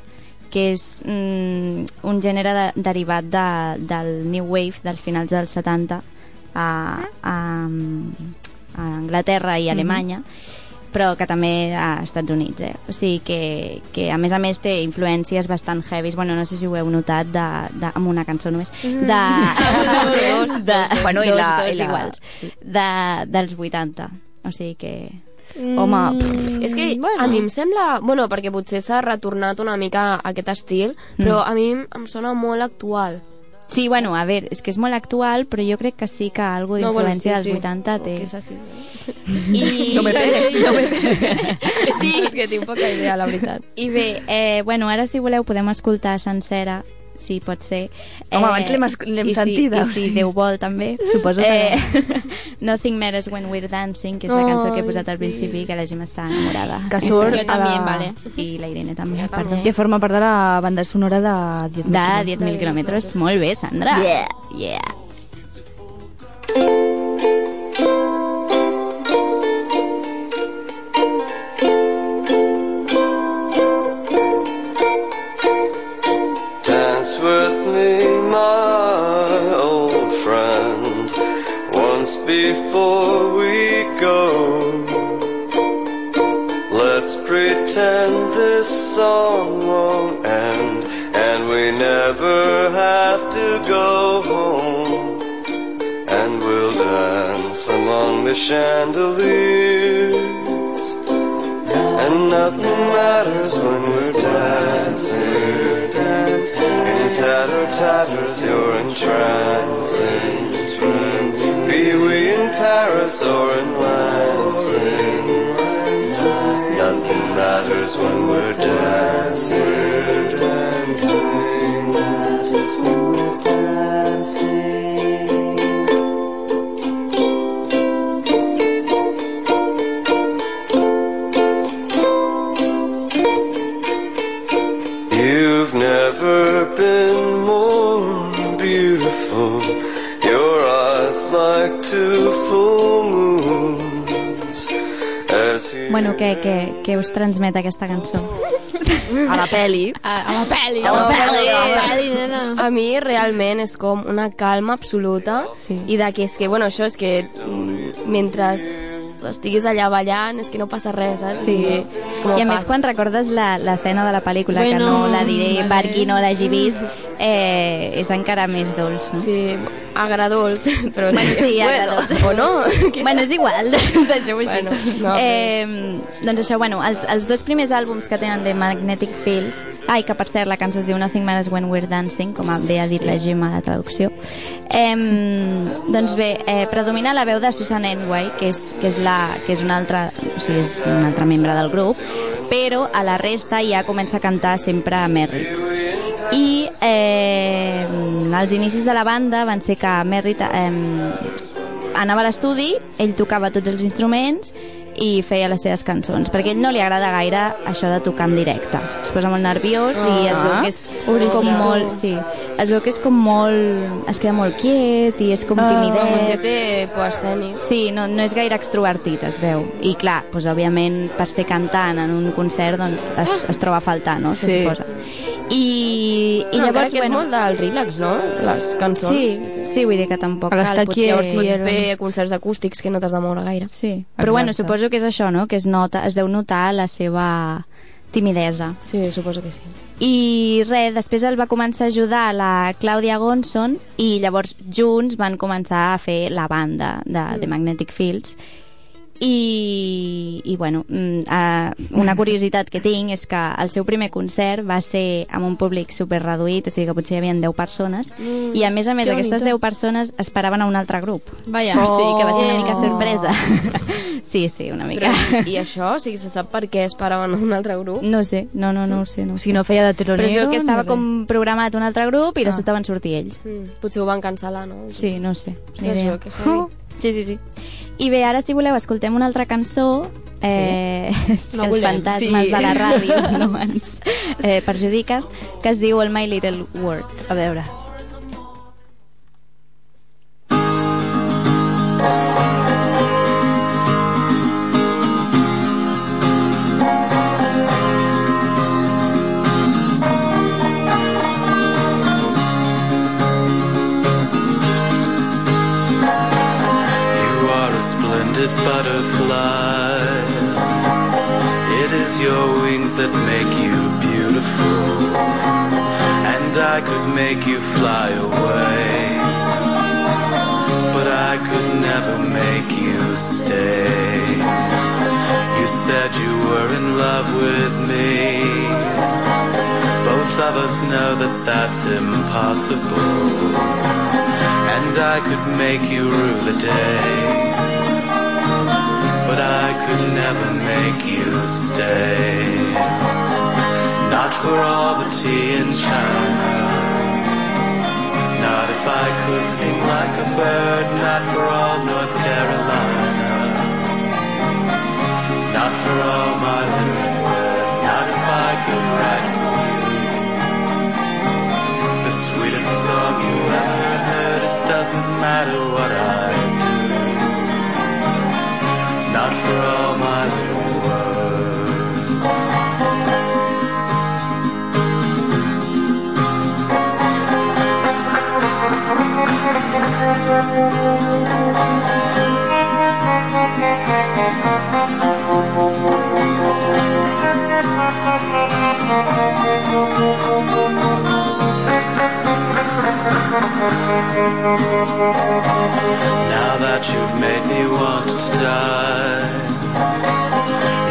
que és mm, un gènere de, derivat de, del New Wave dels finals dels 70 a, a, a Anglaterra i Mhm. Alemanya, però que també a Estats Units, eh? O sigui que, que a més a més té influències bastant heavies, bueno, no sé si ho heu notat, de, de, amb una cançó només, Mm. de... Dos, dos, dos. Bueno, i la- dos, i la- iguals, de, dels 80. O sigui que... Home, pff, Mm, és que bueno. a mi em sembla... Bueno, perquè potser s'ha retornat una mica a aquest estil, però Mm. a mi em- em sona molt actual. Sí, bueno, a veure, és que és molt actual, però jo crec que sí que algo No, bueno, d'influència sí, sí. dels 80 té. És així. eh? I... No me pegues, no me pegues. Sí, és que tinc poca idea, la veritat. I bé, eh, bueno, ara si voleu podem escoltar sencera, si pot ser. Home, abans l'hem es- l'hem Eh, i si- sentida, o I si sigui. Déu vol, també. Eh, Suposo que Nothing Matters When We're Dancing, que és la Ai, cançó que he posat al sí. principi, que la Gemma està enamorada. Que surt Jo també, a la- vale. I la Irene també. Perdó. Que forma part de la banda sonora de 10.000 De 10.000 quilòmetres. Molt bé, Sandra. Yeah. Yeah. Dance with me, my old friend, once before we go. Let's pretend this song won't end, and we never have to go home. And we'll dance among the chandeliers. And nothing matters when we're Ah, dancing. In tatter tatters, you're entrancing. Be we in Paris or in Lansing. Nothing matters when we're dancing. You've never been more beautiful. Your eyes like two full moons. As you Bueno, què, què, què us transmet aquesta cançó? A la peli. A, a la peli. A la peli. A la peli, nena. A mi realment és com una calma absoluta sí. i de que és que, bueno, això és que mm, mentre estiguis allà ballant és que no passa res, saps? Sí. És, que és com I a més, quan recordes la- l'escena de la pel·lícula, que Bueno, no la diré vale. per qui no l'hagi vist, eh, és encara més dolç, no? Sí, agradols, però Bueno, sí, agradols. O no? Bueno, és igual, deixeu-ho així. Bueno, no, eh, doncs això, bueno, els, els dos primers àlbums que tenen de Magnetic Fields, ai, que per cert, la cançó es diu Nothing Matters When We're Dancing, com bé ha dit la Gemma a la traducció, eh, doncs bé, eh, predomina la veu de Susan Enway, que és, que és, la, que és una altra, o sigui, és un altre membre del grup, però a la resta ja comença a cantar sempre a Merritt. I eh, als inicis de la banda van ser que Merritt eh, anava a l'estudi, ell tocava tots els instruments i feia les seves cançons, perquè a ell no li agrada gaire això de tocar en directe. Es posa molt nerviós i es veu Ah. que és com Pobrecito. molt... Sí, es veu que és com molt... Es queda molt quiet i és com Ah, Bueno, potser timidet. té por escènic. Sí, no, no és gaire extrovertit, es veu. I clar, doncs, òbviament, per ser cantant en un concert, doncs es, es troba a faltar, no? Sí. Sí. I, i No, encara llavors, que és bueno... molt del relax, no? Les cançons. Sí, Sí, vull dir que tampoc Cal estar potser- Llavors pots fer concerts acústics que no t'has de moure gaire. Sí, Però bueno, suposo que és això, no? Que es, nota, es deu notar la seva timidesa. Sí, suposo que sí. I res, després el va començar a ajudar la Clàudia Gonson i llavors junts van començar a fer la banda de, de Magnetic Fields i, i bueno, mm, eh, una curiositat que tinc és que el seu primer concert va ser amb un públic super reduït, o sigui que potser hi havia 10 persones, Mm, i a més a més que aquestes bonito. 10 persones esperaven a un altre grup. Vaja. O sigui que va ser una Oh. mica sorpresa. sí, sí, una mica. Però, I això? O sigui, se sap per què esperaven un altre grup? No ho sé, no, no, no ho sé. No ho O sé. sigui, no feia de Però es veu telonero que ni estava res. com programat un altre grup i de Ah. sobte van sortir ells. Mm, potser ho van cancel·lar, no? Sí, no ho sé. ni Ostres, idea. jo, que heavy. sí, sí, sí. I bé, ara si voleu escoltem una altra cançó Eh, és No que els volem, fantasmes sí. de la ràdio no ens eh, perjudiquen que es diu el My Little Words a veure You are a splendid butterfly. It is your wings that make you beautiful. And I could make you fly away. But I could never make you stay. You said you were in love with me. Both of us know that that's impossible and I could make you rue the day. But I could never make you stay. Not for all the tea in China. Not if I could sing like a bird. Not for all North Carolina. Not for all my little words. Not if I could write for you. The sweetest song you ever heard, it doesn't matter what I do. Not for all my little words. Now that you've made me want to die,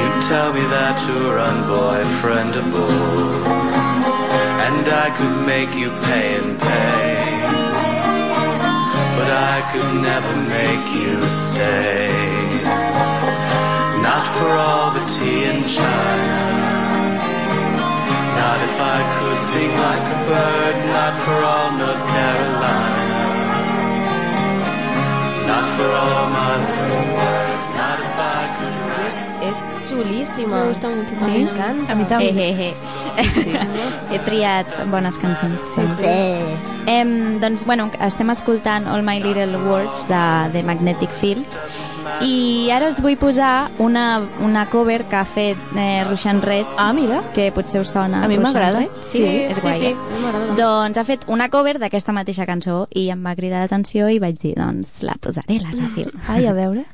you tell me that you're unboyfriendable, and I could make you pay and pay, but I could never make you stay. Not for all the tea in China. Not if I could sing like a bird, not for all North Carolina. Not for all my little words, not if I could És, és xulíssima. Me gusta mucho Sí? también. M'encanta. A mí también. Eh, eh, eh. He triat bones cançons. Sí, sí. Em, doncs, bueno, estem escoltant All My Little Words de, de Magnetic Fields i ara us vull posar una, una cover que ha fet eh, Ruixan Red. Ah, mira. Que potser us sona. A mi Ruixan m'agrada. Red. Sí, Sí, és sí, guai. sí, eh? a mi m'agrada. Doncs ha fet una cover d'aquesta mateixa cançó i em va cridar l'atenció i vaig dir, doncs, la posaré a la ràdio. Ai, a veure.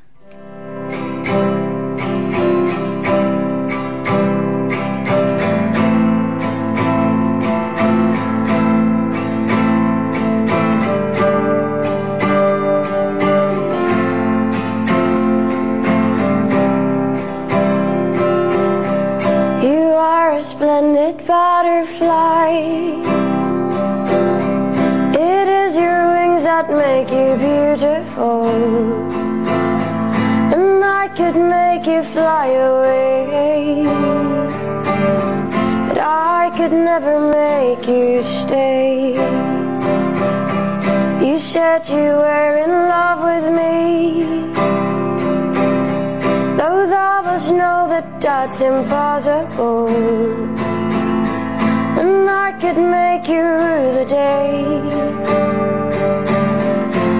You are a splendid butterfly. It is your wings that make you beautiful. And I could make you fly away. But I could never make you stay. You said you were in love with me. Both of us know that that's impossible. And I could make you rue the day.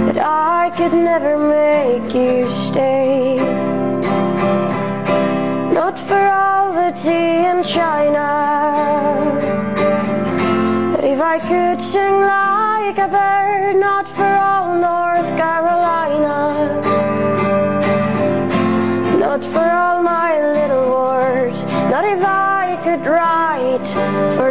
But I could never make you stay. Not for all the tea in China. But if I could sing like like a bird, not for all North Carolina. Not for all my little words, not if I could write for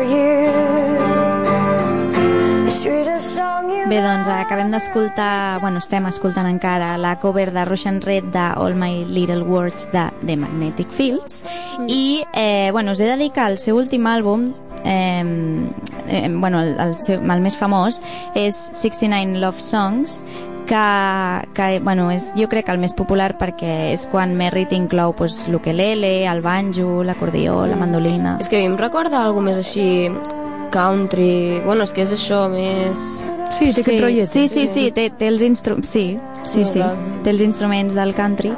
you. The sweetest song you Bé, doncs acabem d'escoltar, bueno, estem escoltant encara la cover de Russian Red de All My Little Words de The Magnetic Fields Mm. i, eh, bueno, us he de dir que el seu últim àlbum eh, eh, bueno, el, el, seu, el més famós és 69 Love Songs que, que bueno, és, jo crec que el més popular perquè és quan Merritt inclou pues, l'ukelele, el banjo, l'acordió, la mandolina... És que a mi em recorda alguna més així country... Bueno, és que és això més... Sí, té aquest rotllet. Sí, sí, sí, té, té els instruments... Sí, sí, sí, té els instruments del country,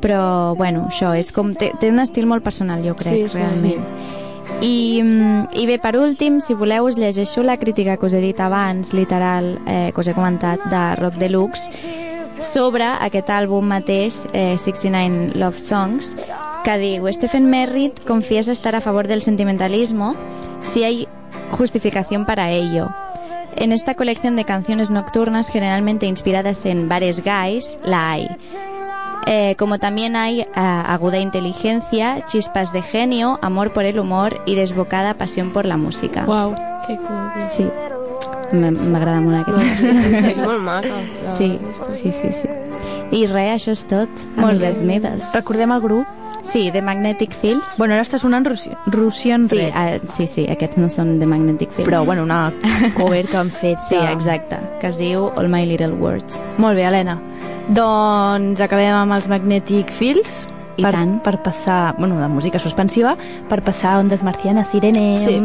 però, bueno, això és com... Té, té un estil molt personal, jo crec, Sí, sí, realment. I, mm, I bé, per últim, si voleu, us llegeixo la crítica que us he dit abans, literal, eh, que us he comentat, de Rock Deluxe, sobre aquest àlbum mateix, eh, 69 Love Songs, que diu Stephen Merritt confiesa estar a favor del sentimentalismo si hay justificación para ello. En esta colección de canciones nocturnas generalmente inspiradas en bares guys, la hay. Eh, como también hay ah, aguda inteligencia, chispas de genio, amor por el humor y desbocada pasión por la música. Wow, que cool. que- Sí, Me- m'agrada molt aquest. No, sí, sí, sí, és molt maca. Sí, sí, sí, sí. I res, això és tot, Molt amigues bé. meves. Recordem el grup? Sí, The Magnetic Fields. Bueno, ara està sonant Russi Russian Sí, Red. ah, sí, sí, aquests no són The Magnetic Fields. Però, bueno, una cover que han fet. Sí, exacte, que es diu All My Little Words. Molt bé, Helena. Doncs acabem amb els Magnetic Fields. I per, tant. Per passar, bueno, de música suspensiva, per passar a Ondes Marcianes, Sirene. Sí.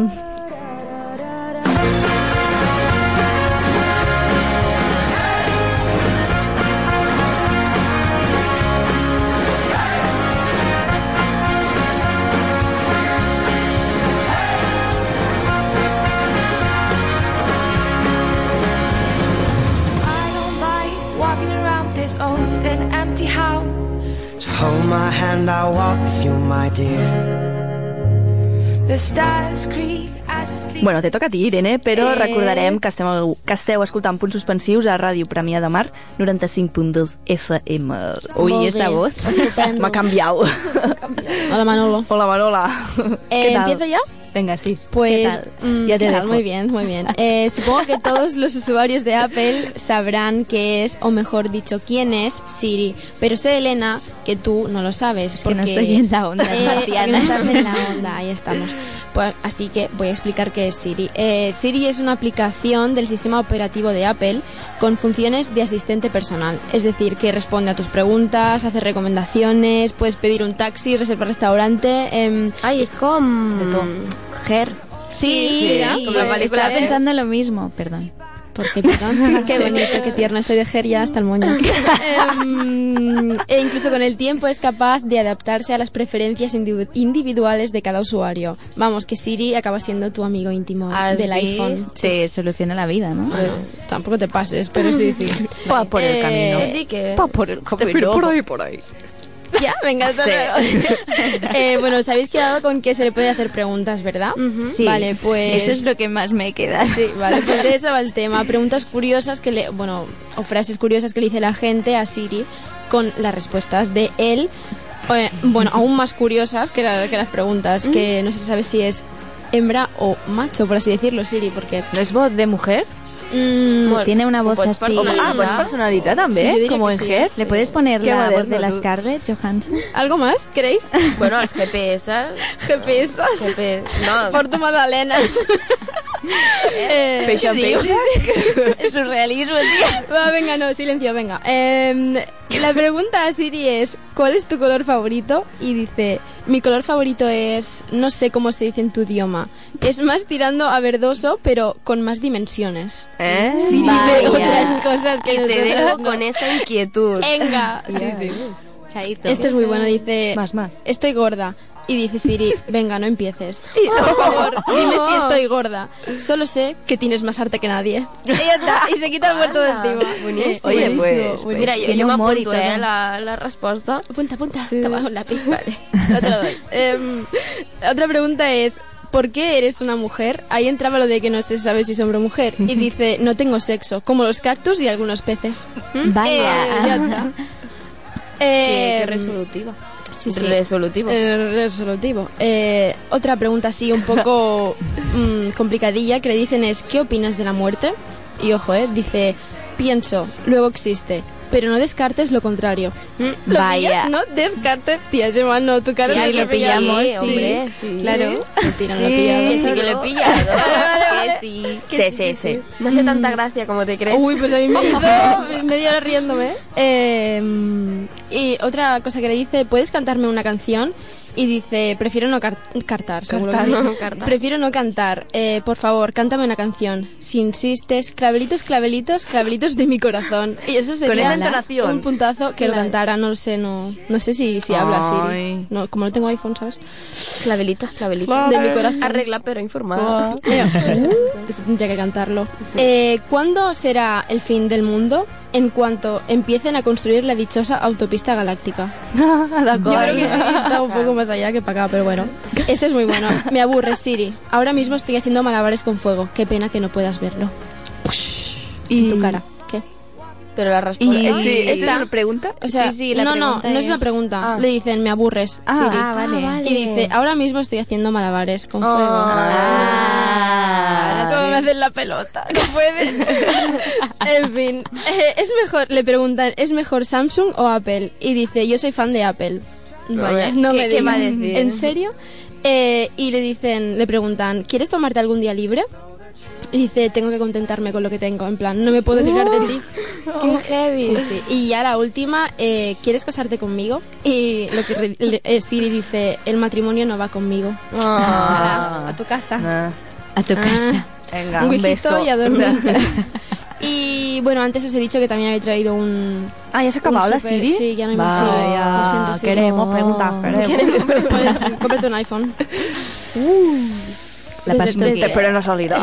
I don't like walking around this old and empty house. So hold my hand, I'll walk with you, my dear. The stars creak as you sleep. Bueno, te toca a ti, Irene, però Eh. eh... recordarem que, estem, que esteu escoltant punts suspensius a Ràdio Premià de Mar, 95.2 FM. Ui, Molt esta bé, voz estupendo. m'ha canviat. Hola, Manolo. Hola, Manola. Eh, ¿Qué tal? ¿empiezo yo? Venga, sí. Pues, mm, ya ¿qué te tal? dejo. Muy bien, muy bien. Eh, supongo que todos los usuarios de Apple sabrán qué es, o mejor dicho, quién es Siri. Pero sé, Elena, que tú no lo sabes. que porque no estoy en la onda, Eh, porque no Marcianas. estás en la onda, ahí estamos. Pues, así que voy a explicar qué es Siri. Eh, Siri es una aplicación del sistema operativo de Apple con funciones de asistente personal. Es decir, que responde a tus preguntas, hace recomendaciones, puedes pedir un taxi, reservar restaurante. em, Ay, es con... Ger. Sí, sí, Pues, mira, como la película Estaba de- pensando lo mismo, perdón. Porque, perdón, qué bonito, qué tierno. Estoy de Ger ya hasta el moño. Em, e incluso con el tiempo es capaz de adaptarse a las preferencias individu- individuales de cada usuario. Vamos, que Siri acaba siendo tu amigo íntimo Has del iPhone. Pues, visto. Te soluciona la vida, ¿no? tampoco te pases, pero sí, sí. Va por el Eh, camino. Di que... Va por el Pero por ahí, por ahí. Ya, venga, hasta Sí. luego. Eh, bueno, os habéis quedado con que se le puede hacer preguntas, ¿verdad? Sí, Vale, pues... Eso es lo que más me queda. Sí, vale, pues de eso va el tema. Preguntas curiosas que le, bueno, o frases curiosas que le dice la gente a Siri con las respuestas de él. Eh, bueno, aún más curiosas que, la- que las preguntas, que Mm. no se sabe si es hembra o macho, por así decirlo, Siri, porque... mm, ¿No es voz de mujer? bueno, Mm, Tiene una voz pues así. personalizar. Ah, ¿puedes personalizar también? Sí, yo diría ¿Como que en sí. Her? ¿Le puedes poner Qué la voz moderno de la tú. Scarlett Johansson? ¿Algo más? ¿Queréis? Bueno, els GPS... GPS. GPS. No, Por tu magdalena. Eh, Peixa, ¿qué digo? Surrealismo, Va, venga, no, silencio, venga. Eh, la pregunta a Siri es, ¿cuál es tu color favorito? Y dice, mi color favorito es, no sé cómo se dice en tu idioma. Es más tirando a verdoso, pero con más dimensiones. ¿Eh? Sí, Vaya. dime otras cosas que Y te nosotras dejo no. con esa inquietud. Eh, Venga, sí, sí. Este es muy bueno, dice, Más, más. estoy gorda. Y dice Siri, venga, no empieces. Y, por favor, dime si estoy gorda. Solo sé que tienes más arte que nadie. Y ya está, y se quita el muerto de encima. Eh, Buenísimo. Oye, Buenísimo, pues, buenísimo. pues, Mira, yo, tiene yo me humor y apunto, todo. eh, la, la respuesta. Mm. Apunta, apunta, toma un lápiz, vale. Em, otra pregunta es, ¿por qué eres una mujer? Ahí entraba lo de que no se sabe si es hombre o mujer. Y dice, no tengo sexo, como los cactus y algunos peces. ¿Mm? Vaya. Eh, ya está. Qué- qué Eh, resolutiva. Sí, sí. Resolutivo. Eh, resolutivo. Eh, otra pregunta así un poco mm, complicadilla que le dicen es ¿qué opinas de la muerte? Y ojo, eh, dice pienso, luego existe, pero no descartes lo contrario. Mm, ¿lo Vaya. pillas? No descartes, tía, Gemma, no, tu cara Sí, no ahí lo pillamos, sí, hombre, sí. Claro. Sí. Mentira, no lo Sí. pillamos. Que sí, que lo he pillado. Que sí. Que sí, sí. No hace tanta gracia como te crees. Uy, pues a mí me hizo media hora riéndome. Eh, y otra cosa que le dice, ¿puedes cantarme una canción? Y dice, prefiero no car- cartar, seguro que Cartar. sí. No, cartar. Prefiero no cantar. Eh, por favor, cántame una canción. Si insistes, clavelitos, clavelitos, clavelitos de mi corazón. Y eso sería Con esa entonación. un puntazo que lo Claro. cantara. No lo sé, no, no sé si, si habla Ay. así. No, como no tengo iPhone, ¿sabes? Clavelitos, clavelitos. De mi corazón. Arregla, pero informada. Eh, pues Tendría que cantarlo. Eh, ¿Cuándo será el fin del mundo? En cuanto empiecen a construir la dichosa autopista galáctica. Yo creo que sí, está un poco más allá que para acá, pero bueno. Este es muy bueno. Me aburre, Siri. Ahora mismo estoy haciendo malabares con fuego. Qué pena que no puedas verlo. Y tu cara. ¿Qué? Pero la respuesta- Y, Ah, sí, está. ¿Esa es una pregunta? O sea, no, no, no es una pregunta. Le dicen, me aburres, Ah, Siri. ah, vale. Ah. Y dice, ahora mismo estoy haciendo malabares con fuego. Ah, Ahora sí. Ah, cómo me hacen la pelota. pues No pueden. en fin, eh, es mejor, le preguntan, ¿es mejor Samsung o Apple? Y dice, yo soy fan de Apple. Vaya, Vaya, no ¿qué- me qué va a digas. decir? ¿En serio? Eh, y le dicen, le preguntan, ¿quieres tomarte algún día libre? Y dice, tengo que contentarme con lo que tengo, en plan, no me puedo librar de ti. Qué heavy. Sí, sí. Y ya la última, eh, ¿quieres casarte conmigo? Y lo que re- le- eh, Siri dice, el matrimonio no va conmigo. Ah. Ala, a tu casa. A Ah, tu casa. Venga, un un, whisky beso. y a dormir. y bueno, antes os he dicho que también había traído un... Ah, ¿ya se ha acabado un la super- Siri? Sí, ya no hay más. Sí, Vaya, lo siento, sí. queremos preguntar, queremos. Queremos preguntar. Pues, cómprate un iPhone. Uh. La Desde- pasmo desde- que- pero no salirá.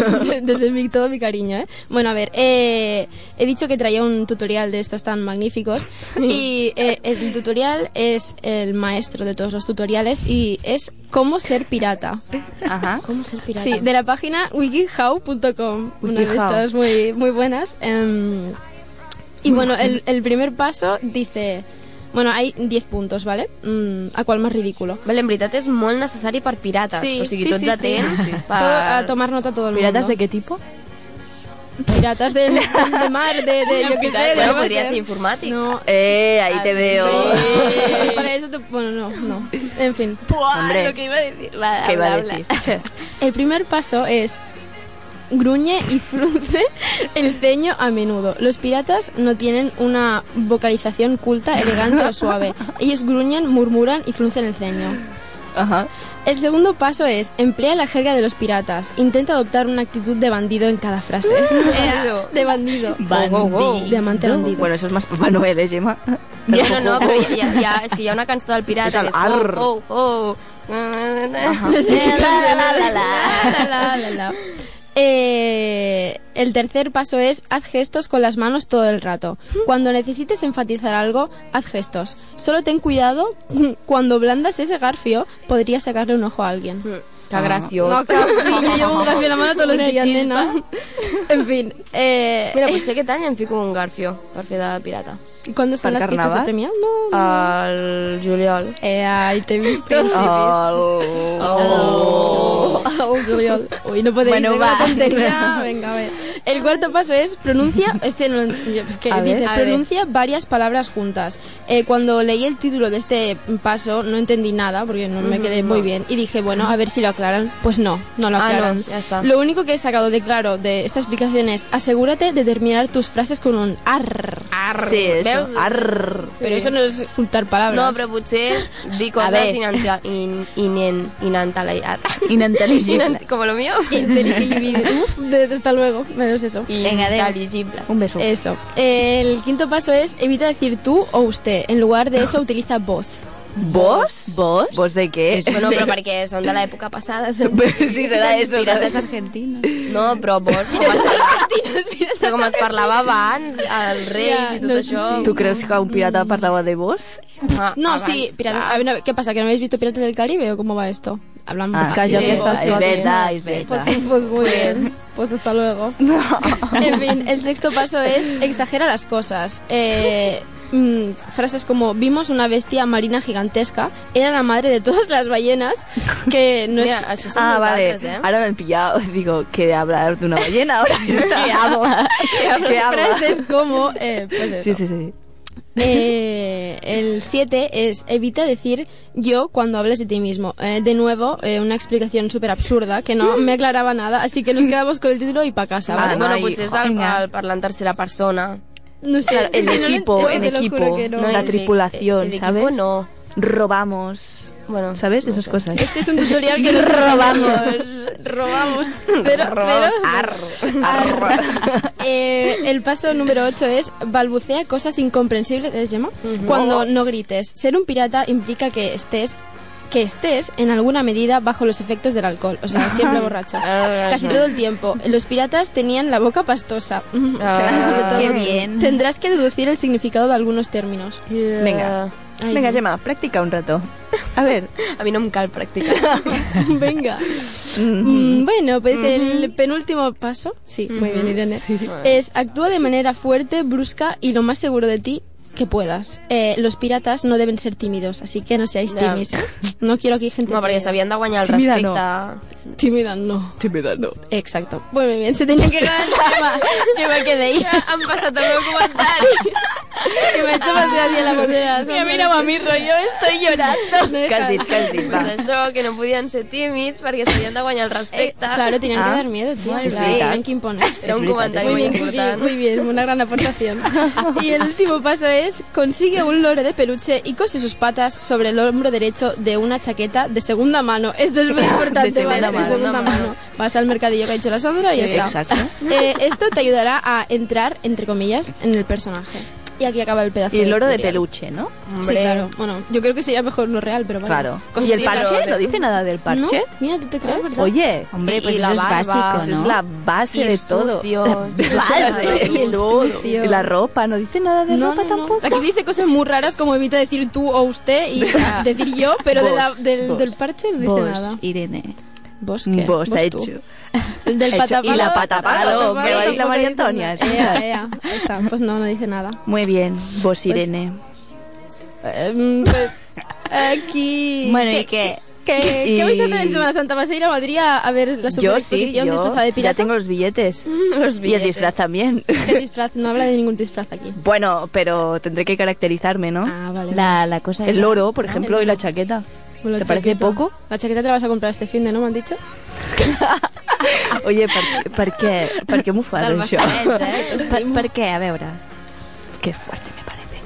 Desde mi, todo mi cariño, ¿eh? Bueno, a ver, eh, he dicho que traía un tutorial de estos tan magníficos y eh, el tutorial es el maestro de todos los tutoriales y es cómo ser pirata. Ajá. ¿Cómo ser pirata? Sí, de la página wikihow.com, una de Wikihow. estas muy, muy buenas. em, y bueno, el, el primer paso dice... Bueno, hay 10 puntos, ¿vale? Mm, a qual más ridículo. Vale, en veritat és molt necessari per pirates. Sí, o sigui, sí, tots sí, atents sí. per... Todo- a tomar nota todo el ¿Piratas mundo. de qué tipo? Piratas del, de mar, de, de yo qué sé. De Bueno, no podria sé. ser informàtic. No. Eh, ahí te veo. Eh, para eso te... Bueno, no, no. En fin. Hombre. lo que iba a decir. ¿Qué iba a decir? El primer paso es gruñe y frunce el ceño a menudo. Los piratas no tienen una vocalización culta, elegante o suave. Ellos gruñen, murmuran y fruncen el ceño. El segundo paso es emplea la jerga de los piratas. Intenta adoptar una actitud de bandido en cada frase. Bandido. de bandido. De amante bandido. Bueno, eso es más Papá Noel, ¿eh, Gemma? Ja, no, no, pues, però ja, ja, ja, és que hi ha una cançó del pirata És que el és... arr. Oh, oh, oh. Ajá. La, la, la, la. Eh, el tercer paso es haz gestos con las manos todo el rato. Cuando necesites enfatizar algo, haz gestos. Solo ten cuidado, cuando blandas ese garfio, podrías sacarle un ojo a alguien. Ah. Que graciós. No, cabrón, yo llevo un garfio en la mano todos los Una días, chispa. nena. En fin. Eh, Mira, potser aquest any em fico un garfio per fer de pirata. ¿Y cuándo son ¿Para las fiestas carnaval? de premio? No, Al juliol. Eh, ay, te he visto. Oh, Juliol. Uy, no podéis Bueno, ser va. una tontería. Venga, a ver. El cuarto paso es pronuncia. Este no lo entiendo, es que A ver. dice A ver. pronuncia varias palabras juntas. Eh, cuando leí el título de este paso no entendí nada porque no me Ujú, quedé muy no. bien y dije bueno a ver si lo aclaran. Pues no, no lo Ah, no, aclaran. ya está. Lo único que he sacado de claro de esta explicación es asegúrate de terminar tus frases con un ar. Ah, Sí, eso. Veus? Arr. Pero eso no es juntar palabras. No, però potser és dir A coses ver. inanta, in, inen, inantalitat. Inanteligible. Inant- como lo mío. Inteligible. Uf, de- de- hasta luego. Menos eso. Inteligible. Un beso. Eso. El quinto paso es evita decir tú o usted. En lugar de eso utiliza vos. ¿Vos? ¿Vos? ¿Vos de qué? Bueno, però perquè són de l'època passada. Sí, serà eso. Pirates argentinos. No, però vos... Com es, però com es parlava abans, els reis Ja, i tot no, sí, això... sí. ¿Tú crees que un pirata parlaba de vos? Ah, No, abans, Ah, Ah. sí, pirata- a ver, no, ¿qué pasa? ¿Que no habéis visto Piratas del Caribe o cómo va esto? hablamos. Ah, Es que yo sí, que estás- es verdad, es Pues, verdad. pues muy bien. Pues hasta luego. En fin, el sexto paso es exagera las cosas. Eh, mm, frases como vimos una bestia marina gigantesca, era la madre de todas las ballenas, que no Mira, es... això són Ah, vale. nosaltres, eh? Ahora me han pillado. Digo, que hablar de una ballena ahora. ¿Qué habla? Que frases como... eh, pues eso. Sí, sí, sí. Eh, el 7 es evita decir yo cuando hables de ti mismo. Eh, de nuevo, eh, una explicación súper absurda que no me aclaraba nada, así que nos quedamos con el título y para casa. Vale, ¿vale? bueno, potser és del, el parlar en tercera persona. No sé, Claro, es el que no lo equipo, entiendo, el te lo juro equipo. que no. No, La el- tripulación, el equipo ¿sabes? no. Robamos. Bueno, ¿sabes? Esas cosas. Este es un tutorial que nos robamos. Robamos. Pero, Robamos. pero- Arr. Eh, el paso número 8 es balbucea cosas incomprensibles, ¿es Gemma? Oh. Cuando no grites. Ser un pirata implica que estés que estés en alguna medida bajo los efectos del alcohol, o sea, siempre Ah, borracho. Casi todo el tiempo. Los piratas tenían la boca pastosa. Mm, claro, Ah, todo. qué bien. Tendrás que deducir el significado de algunos términos. Venga. Ay, Venga, sí. Gemma, practica un rato. A ver. A mí no me cal practicar. Venga. Mm, Bueno, pues el penúltimo paso, sí, muy bien, Irene, es actúa de manera fuerte, brusca y lo más seguro de ti que puedas. Eh, los piratas no deben ser tímidos, así que no seáis Ya. tímidos. ¿eh? No quiero aquí gente No, perquè s'havien de guanyar el Tímida respecte. No. Tímida no. Tímida no. Exacto. Muy bien, se tenía que ganar Chema. Chema, ¿qué de ella? Han pasado el comentario. que me ha hecho más gracia la bandera. Mira, mira, mami, rollo, estoy llorando. No Què has deja- dit? Què has dit? Va. Pues això, que no podien ser tímids perquè s'havien de guanyar el respecte. Eh, claro, tenían que Ah. dar miedo, tío. Molt Sí, bé. tenían que imponer. Era un comentario muy muy bien, Cookie, important. muy bien, una gran aportación. Y el último paso es, consigue un loro de peluche y cose sus patas sobre el hombro derecho de una chaqueta de segunda mano. Esto es muy importante, segunda ¿vale? mano. de segunda mano. Vas al mercadillo que ha hecho la Sandra y Sí, ya está. exacto. Eh, esto te ayudará a entrar, entre comillas, en el personaje. Y aquí acaba el pedazo Y el oro de tutorial. peluche, ¿no? Sí, claro. Bueno, yo creo que sería mejor no real, pero bueno. Claro. ¿Y el parche? ¿No dice nada del parche? No, mira, tú te crees. ¿verdad? Oye, Hombre, Y- pues y eso la es barba. básico, Eso es ¿no? la base Y el de todo. sucio. La base, Y el todo. sucio. Y la ropa, no dice nada de No, ropa no, no. tampoco. Aquí dice cosas muy raras como evita decir tú o usted y ah, decir yo, pero de la- Vos, del, vos. del parche no dice Vos, nada. Irene. Vos qué? Vos ha tú. hecho. El Ha del hecho- patapalo. y la patapalo, patapalo que lo ha dicho tampoco María dice nada. Antonia. Ea, ea. Ahí está. Pues no, no dice nada. Muy bien, vos Pues, Irene. Eh, mm, pues aquí... Bueno, ¿y qué? ¿Qué, Y- qué vais a hacer en Semana Santa? ¿Vas a ir a Madrid a, a ver la yo sí, superexposición yo disfrazada de ya pirata? tengo los billetes. los Y el billetes. disfraz también. ¿Qué disfraz? No habla de ningún disfraz aquí. Bueno, pero tendré que caracterizarme, ¿no? Ah, vale. La, la cosa El era- oro, por Ah, ejemplo, el y la chaqueta. La ¿Te parece chaqueta. poco? La chaqueta te la vas a comprar este fin de, ¿no? ¿Me han dicho? Oye, per, per què, per què m'ho fas, Del això? Bassanet, eh? Per, per què? A veure. Qué fuerte me parece.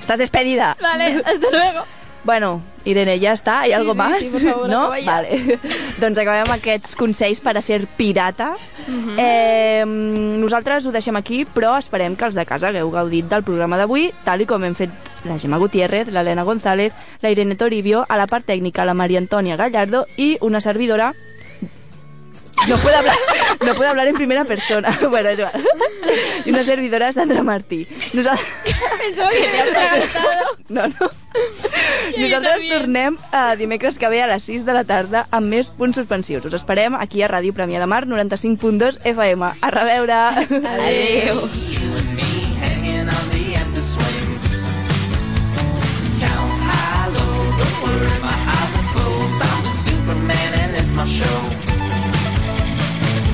Estás despedida. Vale, hasta luego. Bueno, Irene, ja està? Hi ha Sí, algo sí, más? sí, por favor, no? acaba ya. Vale. doncs acabem amb aquests consells per a ser pirata. Mhm. eh, nosaltres ho deixem aquí, però esperem que els de casa hagueu gaudit del programa d'avui, tal i com hem fet la Gemma Gutiérrez, l'Helena González, la Irene Toribio, a la part tècnica la Maria Antònia Gallardo i una servidora no puedo hablar, no puedo hablar en primera persona. Bueno, es igual. Y una servidora, Sandra Martí. Nosaltres... Pensava que t'havies preguntat. No, no. Nosaltres tornem a dimecres que ve a les 6 de la tarda amb més punts suspensius. Us esperem aquí a Ràdio Premià de Mar, 95.2 FM. A reveure! Adéu! You and me hanging on the empty swings. Down high, low, don't worry, my eyes are closed. I'm the Superman and it's my show.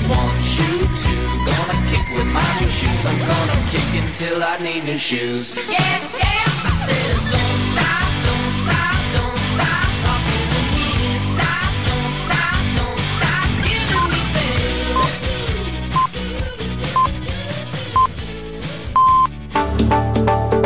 One shoe, two, gonna kick with my new shoes. I'm gonna kick until I need new shoes. Yeah, yeah.